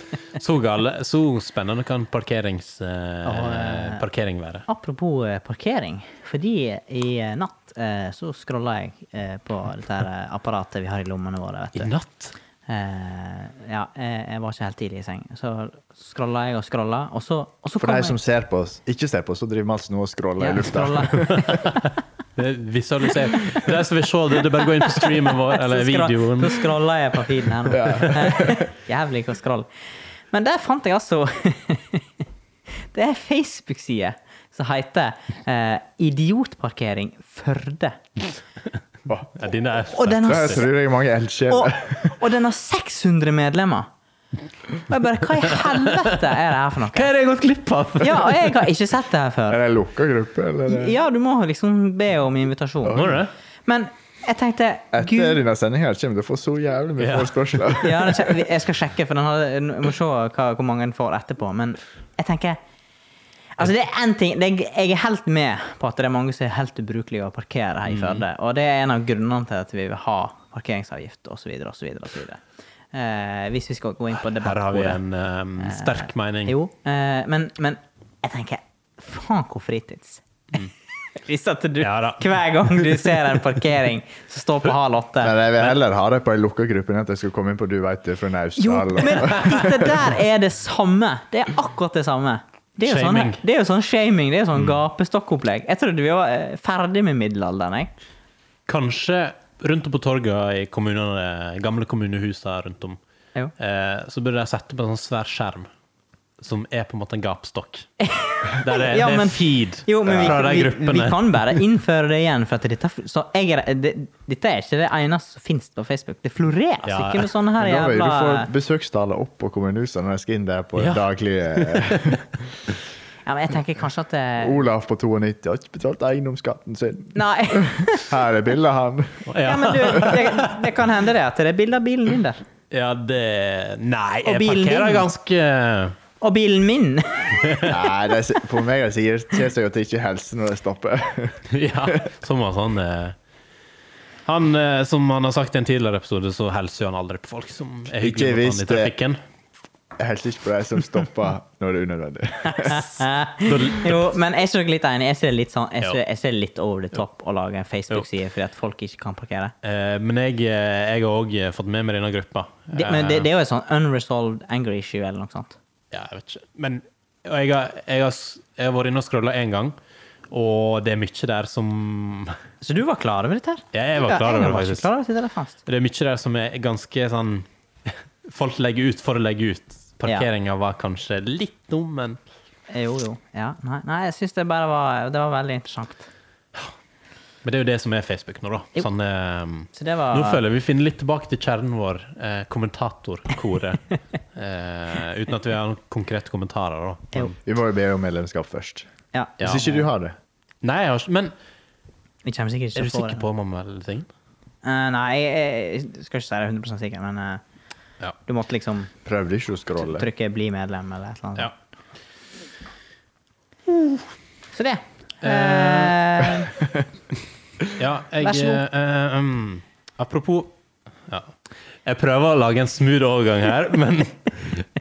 [SPEAKER 1] Så, gale, så spennende kan parkerings, eh,
[SPEAKER 3] Ja, eh.
[SPEAKER 1] parkering være.
[SPEAKER 3] Apropos eh, parkering, fordi i eh, natt eh, så scrolla jeg eh, på dette her eh, apparatet vi har i lommene våre. vet du.
[SPEAKER 1] I natt?
[SPEAKER 3] Eh, ja, jeg, jeg var ikke helt tidlig i seng. Så scrolla jeg og scrolla, og så, og så
[SPEAKER 2] For de
[SPEAKER 3] jeg-
[SPEAKER 2] som ser på oss, ikke ser på oss, så driver Mats nå og scroller
[SPEAKER 3] ja,
[SPEAKER 2] i lufta.
[SPEAKER 3] scrolla.
[SPEAKER 1] Det visualiserer. De som vil se det, det er bare å gå inn på streamen vår, eller
[SPEAKER 3] Så skroll-
[SPEAKER 1] videoen.
[SPEAKER 3] Så scrolla jeg på feeden her nå. Jævlig hva scroll. Men der fant jeg altså Det er ei Facebook-side som heter eh, 'Idiotparkering Førde'.
[SPEAKER 2] Åh,
[SPEAKER 1] Ja, dine er
[SPEAKER 3] Og den har,
[SPEAKER 2] Der tror jeg mange eldsjeler.
[SPEAKER 3] og, og den har 600 medlemmer. Og jeg bare Hva i helvete er det her for
[SPEAKER 1] Hva
[SPEAKER 3] noe?
[SPEAKER 1] er det jeg har gått glipp av?
[SPEAKER 3] Ja, og jeg har ikke sett det her før.
[SPEAKER 2] Er det lukka gruppe, eller? er det-
[SPEAKER 3] Ja, du må liksom be om invitasjon.
[SPEAKER 1] Må du det?
[SPEAKER 3] Men jeg tenkte
[SPEAKER 2] Etter
[SPEAKER 3] Gud,
[SPEAKER 2] denne sendinga kommer du til å få så jævlig mye
[SPEAKER 1] Ja.
[SPEAKER 2] forespørsler.
[SPEAKER 3] ja, det kje- Jeg skal sjekke, for den har, jeg må se hva, hvor mange den får etterpå. Men jeg tenker Altså, det er én ting det er, Jeg er helt med på at det er mange som er helt ubrukelige å parkere
[SPEAKER 1] Mhm.
[SPEAKER 3] her i Førde. Og det er en av grunnene til at vi vil ha parkeringsavgift osv. osv. Eh, hvis vi skal gå inn på
[SPEAKER 1] Her har vi
[SPEAKER 3] debattbordet.
[SPEAKER 1] en eh, sterk mening.
[SPEAKER 3] Jo, eh, men, men jeg tenker Faen, hvor fritids. Hvis at du
[SPEAKER 1] Mm. Ja da.
[SPEAKER 3] hver gang du ser en parkering som står på halv åtte
[SPEAKER 2] Men jeg vil heller ha det på ei lukka gruppe enn at jeg skal komme inn på Du veit det fra
[SPEAKER 3] Jo,
[SPEAKER 2] Naustdal. og-
[SPEAKER 3] men dette der er det samme. Det er akkurat det samme. Det er jo sånn,
[SPEAKER 1] Shaming.
[SPEAKER 2] Mm.
[SPEAKER 3] det er jo sånn shaming. Det er jo sånn gapestokkopplegg. Jeg trodde vi var eh, ferdig med middelalderen. Jeg.
[SPEAKER 1] Kanskje rundt om på torga i kommunene, gamle kommunehusa rundt om,
[SPEAKER 3] Jo.
[SPEAKER 1] eh, så burde de sette opp en sånn svær skjerm som er på en måte en gapstokk. Der det,
[SPEAKER 3] Ja,
[SPEAKER 1] det
[SPEAKER 3] men-
[SPEAKER 1] er feed
[SPEAKER 3] Jo, men
[SPEAKER 1] fra de
[SPEAKER 3] vi, vi,
[SPEAKER 1] gruppene.
[SPEAKER 3] vi kan bare innføre det igjen. For at dette, så jeg er, det, dette er ikke det eneste som finnes på Facebook. Det florerer
[SPEAKER 1] Ja.
[SPEAKER 3] ikke noe sånne her
[SPEAKER 2] Men da vil du
[SPEAKER 3] jævla
[SPEAKER 2] få besøkstallet opp på kommunehuset når jeg skal inn der på
[SPEAKER 1] Ja.
[SPEAKER 2] daglig. eh,
[SPEAKER 3] ja, men Jeg tenker kanskje at eh, det,
[SPEAKER 2] Olaf på 92 har ikke betalt eiendomsskatten sin.
[SPEAKER 3] Nei.
[SPEAKER 2] Her er bildet av han.
[SPEAKER 3] Ja, men du, det, det kan hende det at det er bilde av bilen din der.
[SPEAKER 1] Ja, det Nei,
[SPEAKER 3] Og
[SPEAKER 1] jeg
[SPEAKER 3] bilen
[SPEAKER 1] parkerer
[SPEAKER 3] din.
[SPEAKER 1] ganske
[SPEAKER 3] Og bilen min!
[SPEAKER 2] Nei, det er, si- på meg er det sikkert kjent seg at det ikke er helse når det stopper.
[SPEAKER 1] Ja, som var sånn eh, han, eh, Som han har sagt i en tidligere episode, så hilser jo han aldri på folk som er
[SPEAKER 2] Ikke
[SPEAKER 1] hyggelige mot han
[SPEAKER 2] hvis
[SPEAKER 1] i trafikken.
[SPEAKER 2] Jeg helser ikke på de som stopper når det er unødvendig.
[SPEAKER 3] jo, men jeg er ikke dere litt enig. Jeg ser litt, sånn, jeg
[SPEAKER 1] Jo.
[SPEAKER 3] ser, jeg ser litt over the top å lage en Facebook-side fordi at folk ikke kan parkere.
[SPEAKER 1] Eh, Men jeg, eh, jeg har òg fått med meg denne gruppa. Eh,
[SPEAKER 3] Det, men det, det er jo et sånn unresolved anger issue eller noe sånt.
[SPEAKER 1] Ja, jeg vet ikke. Men og jeg, har, jeg, har, s- jeg har vært inne og scrolla én gang, og det er mye der som
[SPEAKER 3] Så du var klar over dette her?
[SPEAKER 1] Ja, jeg var
[SPEAKER 3] Ja,
[SPEAKER 1] klar over det,
[SPEAKER 3] var ikke
[SPEAKER 1] faktisk.
[SPEAKER 3] Klar over at dette er fast.
[SPEAKER 1] Det er mye der som er ganske sånn Folk legger ut for å legge ut. Parkeringa var kanskje litt dum, men
[SPEAKER 3] Eh, Jo, jo. Ja, nei, nei jeg syns det bare var Det var veldig interessant.
[SPEAKER 1] Men det er jo det som er Facebook nå, da.
[SPEAKER 3] Jo.
[SPEAKER 1] Sånn, eh,
[SPEAKER 3] Så det var
[SPEAKER 1] nå føler jeg vi finner litt tilbake til kjernen vår, eh, kommentatorkoret. eh, uten at vi har noen konkrete kommentarer, da.
[SPEAKER 3] Jo.
[SPEAKER 2] Vi må jo be om medlemskap først.
[SPEAKER 3] Ja.
[SPEAKER 1] Ja.
[SPEAKER 2] Hvis ikke du har det.
[SPEAKER 1] Nei, jeg har ikke Men
[SPEAKER 3] Vi kommer sikkert
[SPEAKER 1] er
[SPEAKER 3] ikke
[SPEAKER 1] du
[SPEAKER 3] til å få
[SPEAKER 1] sikker
[SPEAKER 3] det.
[SPEAKER 1] på om han melder seg inn?
[SPEAKER 3] Eh, nei, jeg, jeg skal ikke si det er 100 sikker, men eh,
[SPEAKER 1] Ja.
[SPEAKER 3] du måtte liksom
[SPEAKER 2] Prøvde ikke å scrolle.
[SPEAKER 3] trykke 'bli medlem' eller et eller annet.
[SPEAKER 1] ja.
[SPEAKER 3] Så det. Eh,
[SPEAKER 1] Ja, jeg
[SPEAKER 3] Vær så god.
[SPEAKER 1] eh, eh, um, Apropos ja. Jeg prøver å lage en smooth overgang her, men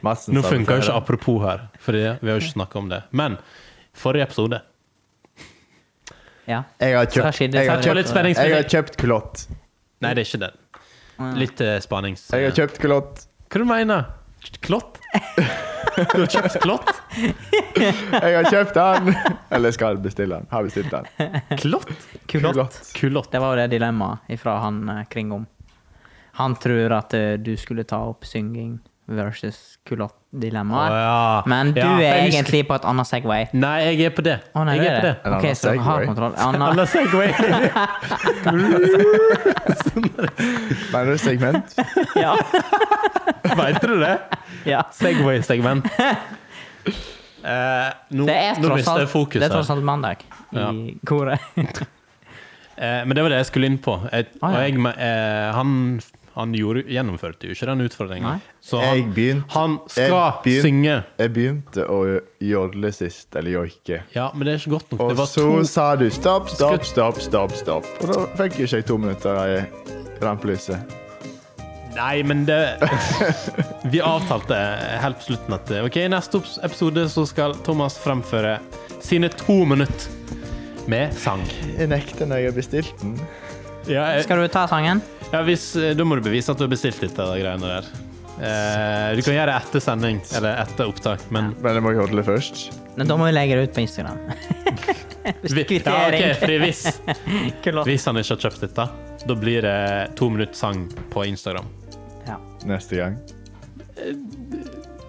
[SPEAKER 2] Madsen
[SPEAKER 1] nå
[SPEAKER 2] sa det
[SPEAKER 1] funker jo
[SPEAKER 2] før.
[SPEAKER 1] ikke apropos her. Fordi vi har jo ikke snakka om det. Men forrige episode
[SPEAKER 3] ja.
[SPEAKER 2] Jeg har
[SPEAKER 3] Så her
[SPEAKER 2] kjøpt,
[SPEAKER 3] skjedde-
[SPEAKER 2] jeg har
[SPEAKER 1] Sett på litt
[SPEAKER 2] kjøpt,
[SPEAKER 1] spenning,
[SPEAKER 2] jeg har
[SPEAKER 1] spenning.
[SPEAKER 2] kjøpt kulott.
[SPEAKER 1] Nei, det er ikke den. Litt eh, spanings...
[SPEAKER 2] Jeg har kjøpt kulott.
[SPEAKER 1] Hva du mener du? Klott? Du har kjøpt klott?
[SPEAKER 2] Jeg har kjøpt den! Eller skal bestille den. Har bestilt den.
[SPEAKER 1] Klott?
[SPEAKER 2] Kulott.
[SPEAKER 1] Kulott.
[SPEAKER 3] Det var jo det dilemmaet fra han eh, Kringom. Han tror at eh, du skulle ta opp synging versus
[SPEAKER 1] Å,
[SPEAKER 3] kulott-dilemmaet.
[SPEAKER 1] ja.
[SPEAKER 3] Men du
[SPEAKER 1] Ja,
[SPEAKER 3] er
[SPEAKER 1] jeg husker-
[SPEAKER 3] egentlig på et annet segway.
[SPEAKER 1] Nei, jeg er på det.
[SPEAKER 3] Å, nei,
[SPEAKER 1] jeg
[SPEAKER 3] det
[SPEAKER 1] er på det.
[SPEAKER 2] En
[SPEAKER 3] Ok,
[SPEAKER 2] annen
[SPEAKER 3] så han har
[SPEAKER 2] Segway.
[SPEAKER 3] kontroll. Anna,
[SPEAKER 1] Eller Segway.
[SPEAKER 2] Men det er segment.
[SPEAKER 3] ja,
[SPEAKER 1] Vet du det?
[SPEAKER 3] ja.
[SPEAKER 1] Segway-segment. Eh, nå,
[SPEAKER 3] Det er
[SPEAKER 1] nå
[SPEAKER 3] tross
[SPEAKER 1] mister jeg
[SPEAKER 3] alt,
[SPEAKER 1] fokus
[SPEAKER 3] det er
[SPEAKER 1] her.
[SPEAKER 3] tross alt mandag i
[SPEAKER 1] Ja.
[SPEAKER 3] koret.
[SPEAKER 1] Eh, men det var det jeg skulle inn på. Jeg,
[SPEAKER 3] Ah, ja.
[SPEAKER 1] og jeg, eh, han han gjorde, gjennomførte jo ikke den utfordringen.
[SPEAKER 3] Nei.
[SPEAKER 1] Så
[SPEAKER 2] Jeg
[SPEAKER 1] han,
[SPEAKER 2] begynte-
[SPEAKER 1] han
[SPEAKER 2] jeg
[SPEAKER 1] skal
[SPEAKER 2] begyn-
[SPEAKER 1] synge.
[SPEAKER 2] Jeg begynte å jodle sist, eller joike.
[SPEAKER 1] Ja, men det er ikke godt nok.
[SPEAKER 2] Og
[SPEAKER 1] Det var
[SPEAKER 2] så
[SPEAKER 1] to
[SPEAKER 2] sa du stopp, stopp, stopp, stopp. stopp. Og da fikk jo ikke jeg to minutter i rampelyset.
[SPEAKER 1] Nei, men det Vi avtalte helt på slutten at OK, i neste ops- episode så skal Thomas fremføre sine to minutter med sang.
[SPEAKER 2] Jeg nekter når jeg har bestilt den.
[SPEAKER 1] Ja, jeg-
[SPEAKER 3] Skal du ta sangen?
[SPEAKER 1] ja hvis, eh, Da må du bevise at du har bestilt dette greiene der. Eh, du kan gjøre det etter sending, eller etter opptak, men
[SPEAKER 2] Men jeg må jodle først.
[SPEAKER 3] Nei, Da må vi legge det ut på Instagram.
[SPEAKER 1] vi, ja,
[SPEAKER 3] Kvittering.
[SPEAKER 1] ok, fordi hvis,
[SPEAKER 3] Kulott.
[SPEAKER 1] hvis han ikke har kjøpt dette, da blir det to minutter sang på Instagram.
[SPEAKER 3] Ja.
[SPEAKER 2] Neste gang.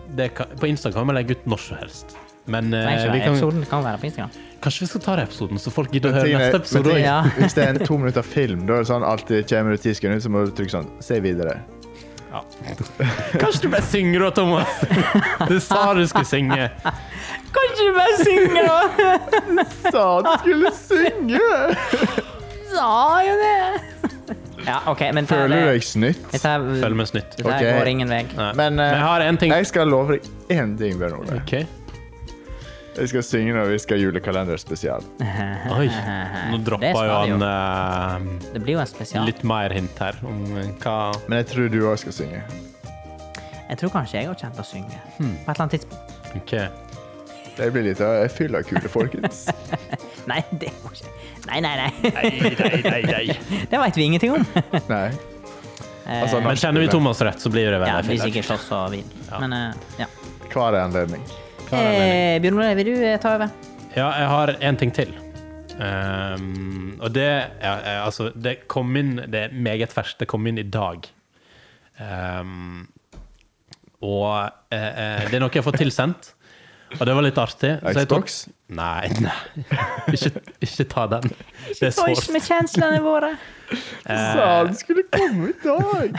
[SPEAKER 1] Det kan, på Instagram kan vi legge ut når som helst. Men eh,
[SPEAKER 3] Nei, ikke
[SPEAKER 1] vi
[SPEAKER 3] det.
[SPEAKER 1] kan,
[SPEAKER 3] Episoden kan være på Instagram.
[SPEAKER 1] kanskje vi skal ta den episoden, så folk gidder å
[SPEAKER 2] Men
[SPEAKER 1] høre
[SPEAKER 2] tingen er-
[SPEAKER 1] neste
[SPEAKER 2] men
[SPEAKER 1] episode
[SPEAKER 2] tingen-
[SPEAKER 1] òg.
[SPEAKER 3] Ja.
[SPEAKER 2] Hvis det er en to minutter film, da er det sånn alltid kommer det ti sekunder, så må du trykke sånn. Se videre.
[SPEAKER 1] Ja. Kanskje du bare synger da, Thomas? Du sa du skulle synge.
[SPEAKER 3] Kan ikke du bare synge, da?
[SPEAKER 2] Sa du skulle synge!
[SPEAKER 3] Sa jo det! Ja, OK, men dette-
[SPEAKER 2] Føler du deg snytt?
[SPEAKER 3] Dette
[SPEAKER 1] Følg med snytt.
[SPEAKER 3] dette
[SPEAKER 2] Ok.
[SPEAKER 3] går ingen vei.
[SPEAKER 1] Nei. Men,
[SPEAKER 2] Men, eh,
[SPEAKER 1] jeg har en ting.
[SPEAKER 2] Jeg skal love deg én ting, Bjørn Ole.
[SPEAKER 1] Ok.
[SPEAKER 2] Jeg skal synge når vi skal ha julekalenderspesial.
[SPEAKER 1] Oi, nå
[SPEAKER 3] Det
[SPEAKER 1] droppa
[SPEAKER 3] skal
[SPEAKER 1] jo
[SPEAKER 3] det jo.
[SPEAKER 1] han
[SPEAKER 3] Det blir jo en
[SPEAKER 1] eh,
[SPEAKER 3] spesial.
[SPEAKER 1] litt mer hint her om hva
[SPEAKER 2] Men jeg tror du òg skal synge.
[SPEAKER 3] Jeg tror kanskje jeg har kjent å synge. På et eller annet tidspunkt.
[SPEAKER 1] Ok.
[SPEAKER 2] Det blir litt av jeg fyller kule, folkens.
[SPEAKER 3] Nei, det må ikke Nei, nei, nei.
[SPEAKER 1] Nei, nei, nei, nei.
[SPEAKER 3] Det veit vi ingenting om.
[SPEAKER 2] Nei. Altså,
[SPEAKER 1] Men kjenner vi Thomas rett, så blir det
[SPEAKER 3] Ja, det
[SPEAKER 1] veldig
[SPEAKER 3] blir
[SPEAKER 1] fint.
[SPEAKER 3] sikkert slåss og vin. Men eh, ja.
[SPEAKER 2] hver anledning.
[SPEAKER 1] er
[SPEAKER 3] Eh, Bjørn Ole, vil du eh, ta over?
[SPEAKER 1] Ja, jeg har en ting til. Ehm, og det ja, eh, Altså, det kom inn Det er meget ferskt. Det kom inn i dag. Ehm, og eh, eh, det er noe jeg har fått tilsendt, og det var litt artig. så jeg tok-
[SPEAKER 2] Xbox?
[SPEAKER 1] Nei, nei. Ikke, ikke ta den. Det er
[SPEAKER 3] Toys
[SPEAKER 1] sårt.
[SPEAKER 3] med kjenslene våre.
[SPEAKER 1] Eh.
[SPEAKER 2] Sa han skulle komme i dag!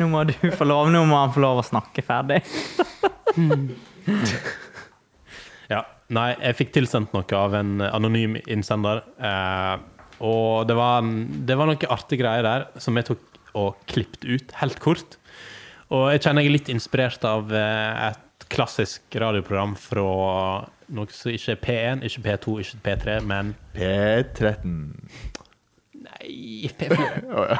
[SPEAKER 3] Nå må du få lov, nå må han få lov å snakke ferdig.
[SPEAKER 1] Ja. Nei, jeg fikk tilsendt noe av en anonym innsender. Eh, og det var, en- det var noe artig greier der som jeg tok og klippet ut helt kort. Og jeg kjenner jeg er litt inspirert av eh, et klassisk radioprogram fra noe som ikke er P1, ikke P2, ikke P3, men
[SPEAKER 2] P13.
[SPEAKER 1] Nei, P4.
[SPEAKER 2] Å ja.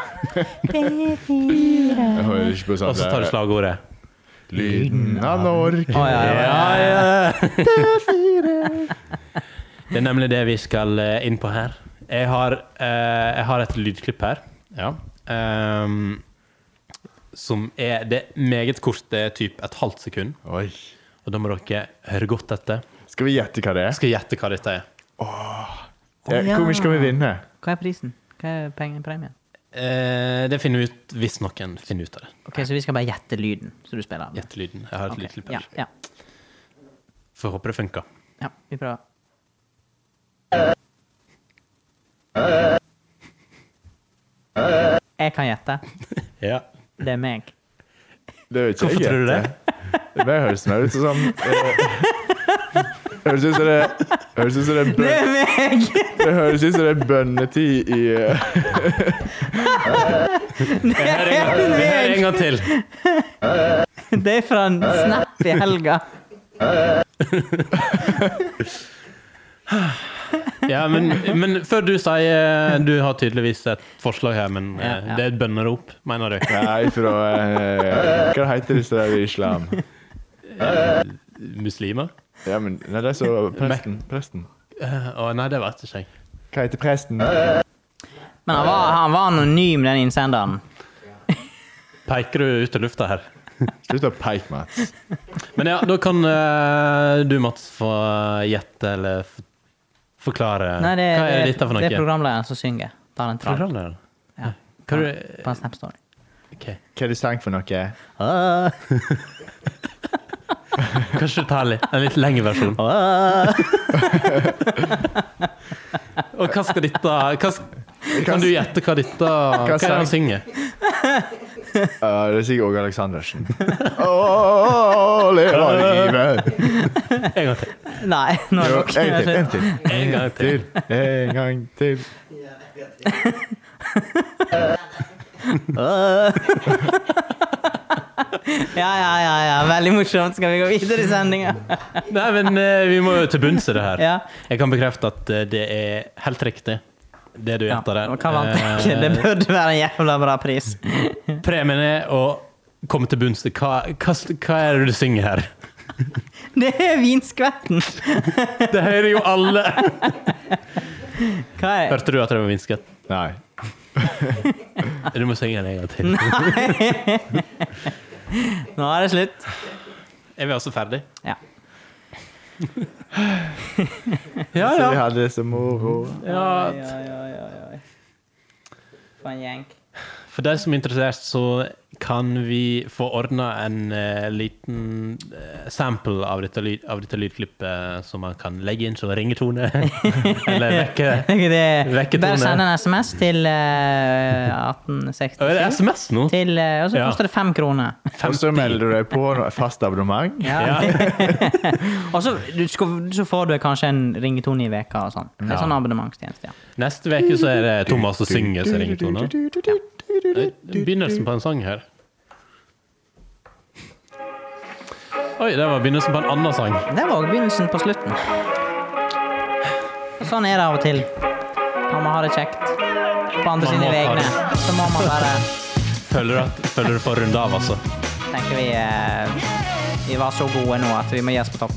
[SPEAKER 2] Jeg hører ikke på
[SPEAKER 1] Og
[SPEAKER 2] sånt.
[SPEAKER 1] så tar du slagordet.
[SPEAKER 2] Lyden av Norge.
[SPEAKER 3] Å, ja, ja.
[SPEAKER 1] Det er nemlig det vi skal eh, inn på her. Jeg har, eh, jeg har et lydklipp her. Ja. Ehm, som er Det er meget kort, det er typ et halvt sekund.
[SPEAKER 2] Oi.
[SPEAKER 1] Og da må dere høre godt etter.
[SPEAKER 2] Skal vi gjette hva det er?
[SPEAKER 1] Jeg skal gjette hva dette er.
[SPEAKER 2] Eh,
[SPEAKER 3] ja.
[SPEAKER 2] Hvor mye skal vi vinne?
[SPEAKER 3] Hva er prisen? Hva er peng- premien?
[SPEAKER 1] Eh, det finner vi ut hvis noen finner ut av det.
[SPEAKER 3] Ok, Så vi skal bare gjette lyden som du spiller? med.
[SPEAKER 1] Gjette lyden. Jeg har et
[SPEAKER 3] Ok,
[SPEAKER 1] lydklipp
[SPEAKER 3] Ja,
[SPEAKER 1] her.
[SPEAKER 3] ja,
[SPEAKER 1] Får håpe det funker.
[SPEAKER 3] ja, vi prøver. Jeg kan gjette.
[SPEAKER 1] Ja.
[SPEAKER 3] Det er meg.
[SPEAKER 2] Det vet ikke
[SPEAKER 1] Hvorfor
[SPEAKER 2] jeg
[SPEAKER 1] tror du det?
[SPEAKER 2] gjette. Det bare høres mer ut som sånn, eh, Høres ut som det Høres ut som det er bønn-
[SPEAKER 3] er meg!
[SPEAKER 2] det høres ut som det er bønnetid i eh,
[SPEAKER 1] Vi hører en gang- vi hører en gang til.
[SPEAKER 3] Det er fra en snap i helga.
[SPEAKER 1] Ja, men, men før du sier eh, Du har tydeligvis et forslag her, men eh,
[SPEAKER 3] Ja, ja.
[SPEAKER 1] det er et bønnerop, mener du?
[SPEAKER 2] Nei, fra eh, Hva heter disse der i islam?
[SPEAKER 1] Muslimer?
[SPEAKER 2] Ja, men Nei, det er så presten. presten.
[SPEAKER 1] Eh, Å nei, det vet ikke jeg.
[SPEAKER 2] Hva heter presten?
[SPEAKER 3] Men han var, han var anonym, den innsenderen.
[SPEAKER 1] Peker du ut i lufta her?
[SPEAKER 2] Slutt å peke, Mats.
[SPEAKER 1] Men ja, da kan eh, du, Mats, få eh, gjette eller f forklare.
[SPEAKER 3] Nei, det,
[SPEAKER 1] Hva er
[SPEAKER 3] det,
[SPEAKER 1] dette for noe?
[SPEAKER 3] det er programlederen som synger. Tar en trall.
[SPEAKER 1] Programlederen?
[SPEAKER 3] Ja.
[SPEAKER 1] Hva er det-
[SPEAKER 3] På en Snap Story.
[SPEAKER 1] Ok.
[SPEAKER 2] Hva er det sang for noe?
[SPEAKER 3] Ah,
[SPEAKER 1] Kanskje ta en litt- en litt lengre versjon.
[SPEAKER 3] ah.
[SPEAKER 1] Og hva skal dette hva, s- Kan du gjette hva dette Hva er det han synger?
[SPEAKER 2] Ja, det er sikkert Åge Aleksandersen. Å, leve livet!
[SPEAKER 1] En gang til.
[SPEAKER 3] Nei, nå er
[SPEAKER 2] Jo,
[SPEAKER 3] det nok.
[SPEAKER 2] en til, en til.
[SPEAKER 1] En gang til.
[SPEAKER 2] til. En gang til.
[SPEAKER 3] Ja, ja, ja, ja. Veldig morsomt. Skal vi gå videre i sendinga?
[SPEAKER 1] Nei, men eh, vi må jo til bunns i det her.
[SPEAKER 3] Ja.
[SPEAKER 1] Jeg kan bekrefte at eh, det er helt riktig, det du
[SPEAKER 3] Ja.
[SPEAKER 1] gjetter der.
[SPEAKER 3] og Hva vant dere? Det
[SPEAKER 1] Eh,
[SPEAKER 3] burde være en jævla bra pris.
[SPEAKER 1] Premien er å komme til bunns i hva, hva, hva er det du synger her?
[SPEAKER 3] Det er vinskvetten!
[SPEAKER 1] Det hører jo alle!
[SPEAKER 3] Hva er
[SPEAKER 1] Hørte du at det var vinskvett?
[SPEAKER 2] Nei.
[SPEAKER 1] Du må synge den en gang til.
[SPEAKER 3] Nå er det slutt.
[SPEAKER 1] Er vi altså ferdig?
[SPEAKER 3] Ja.
[SPEAKER 1] Ja,
[SPEAKER 2] Så vi
[SPEAKER 1] ja.
[SPEAKER 2] hadde det så moro.
[SPEAKER 3] Oi, oi, oi, oi, oi. For en gjeng.
[SPEAKER 1] For de som er interessert, så kan vi få ordna en eh, liten eh, sample av dette, lyd, av dette lydklippet som man kan legge inn som ringetone. Eller vekke
[SPEAKER 3] Det er,
[SPEAKER 1] Vekketone.
[SPEAKER 3] bare send en SMS til eh, 1867.
[SPEAKER 1] Å, Er det SMS nå?
[SPEAKER 3] Til, eh, og så
[SPEAKER 1] Ja.
[SPEAKER 3] koster det fem kroner.
[SPEAKER 2] Og så melder du deg på noe fast abonnement.
[SPEAKER 1] Ja.
[SPEAKER 3] Og så, du skal, så får du kanskje en ringetone i veka og sånn. Det er sånn abonnementstjeneste, ja.
[SPEAKER 1] Neste uke så er det Thomas som synger sin ringetone. Det er Begynnelsen på en sang her. Oi, det var begynnelsen på en annen sang.
[SPEAKER 3] Det var også begynnelsen på slutten. Og sånn er det av og til. Når man har det kjekt på
[SPEAKER 1] Man
[SPEAKER 3] andre sine
[SPEAKER 1] må ta
[SPEAKER 3] vegne, så må man bare
[SPEAKER 1] Føler du, at, føler du for runde av, altså?
[SPEAKER 3] tenker vi eh, Vi var så gode nå at vi må gi oss på topp.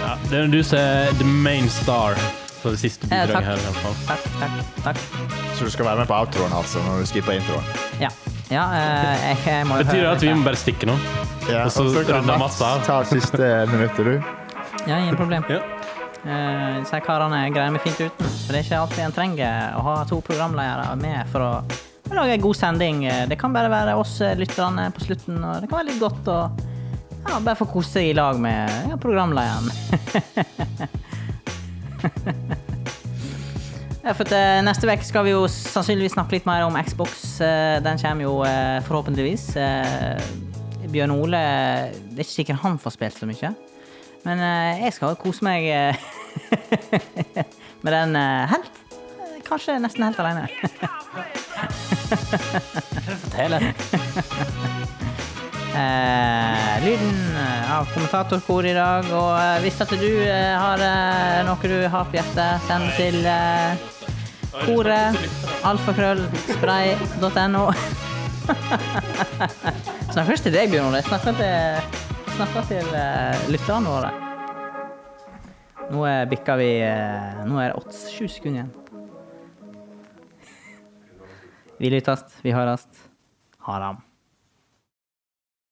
[SPEAKER 1] Ja, det er du som er the main star på det siste
[SPEAKER 3] Eh,
[SPEAKER 1] bidraget
[SPEAKER 3] takk.
[SPEAKER 1] her. i hvert fall.
[SPEAKER 3] Takk, takk, takk.
[SPEAKER 2] Så du skal være med på outroen, altså, når du skipper introen.
[SPEAKER 3] Ja. ja eh, jeg, jeg må jo
[SPEAKER 1] Betyr det
[SPEAKER 3] høre
[SPEAKER 1] at vi
[SPEAKER 3] litt,
[SPEAKER 1] må bare stikke nå?
[SPEAKER 2] Ja,
[SPEAKER 1] Og så runder Mats av.
[SPEAKER 2] Ta siste minuttet, du.
[SPEAKER 3] ja. Ja, ingen problem.
[SPEAKER 1] Ja.
[SPEAKER 3] Eh, disse karene greier meg fint uten. For det er ikke alltid en trenger å ha to programledere med for å å lage en god sending. Eh, Det kan bare være oss eh, lytterne på slutten, og det kan være litt godt å ja, bare få kose seg i lag med ja, programlederen. Ja, for at, eh, Neste uke skal vi jo sannsynligvis snakke litt mer om Xbox. Eh, den kommer jo eh, forhåpentligvis. Eh, Bjørn Ole Det er ikke sikkert han får spilt så mye. Men eh, jeg skal kose meg eh, med den eh, helt. eh, Kanskje nesten helt alene. Eh, lyden av kommentatorkor i dag. Og eh, hvis at du eh, har eh, noe du har på hjertet, send til eh, koret alfakrøllspray.no. Snakker ikke til deg, Bjørn Ole. Jeg Snakker til, snakker til eh, lytterne våre. Nå eh, bikker vi eh, Nå er det åtte, sju sekunder igjen. Vi lyttes, vi høres. Ha det.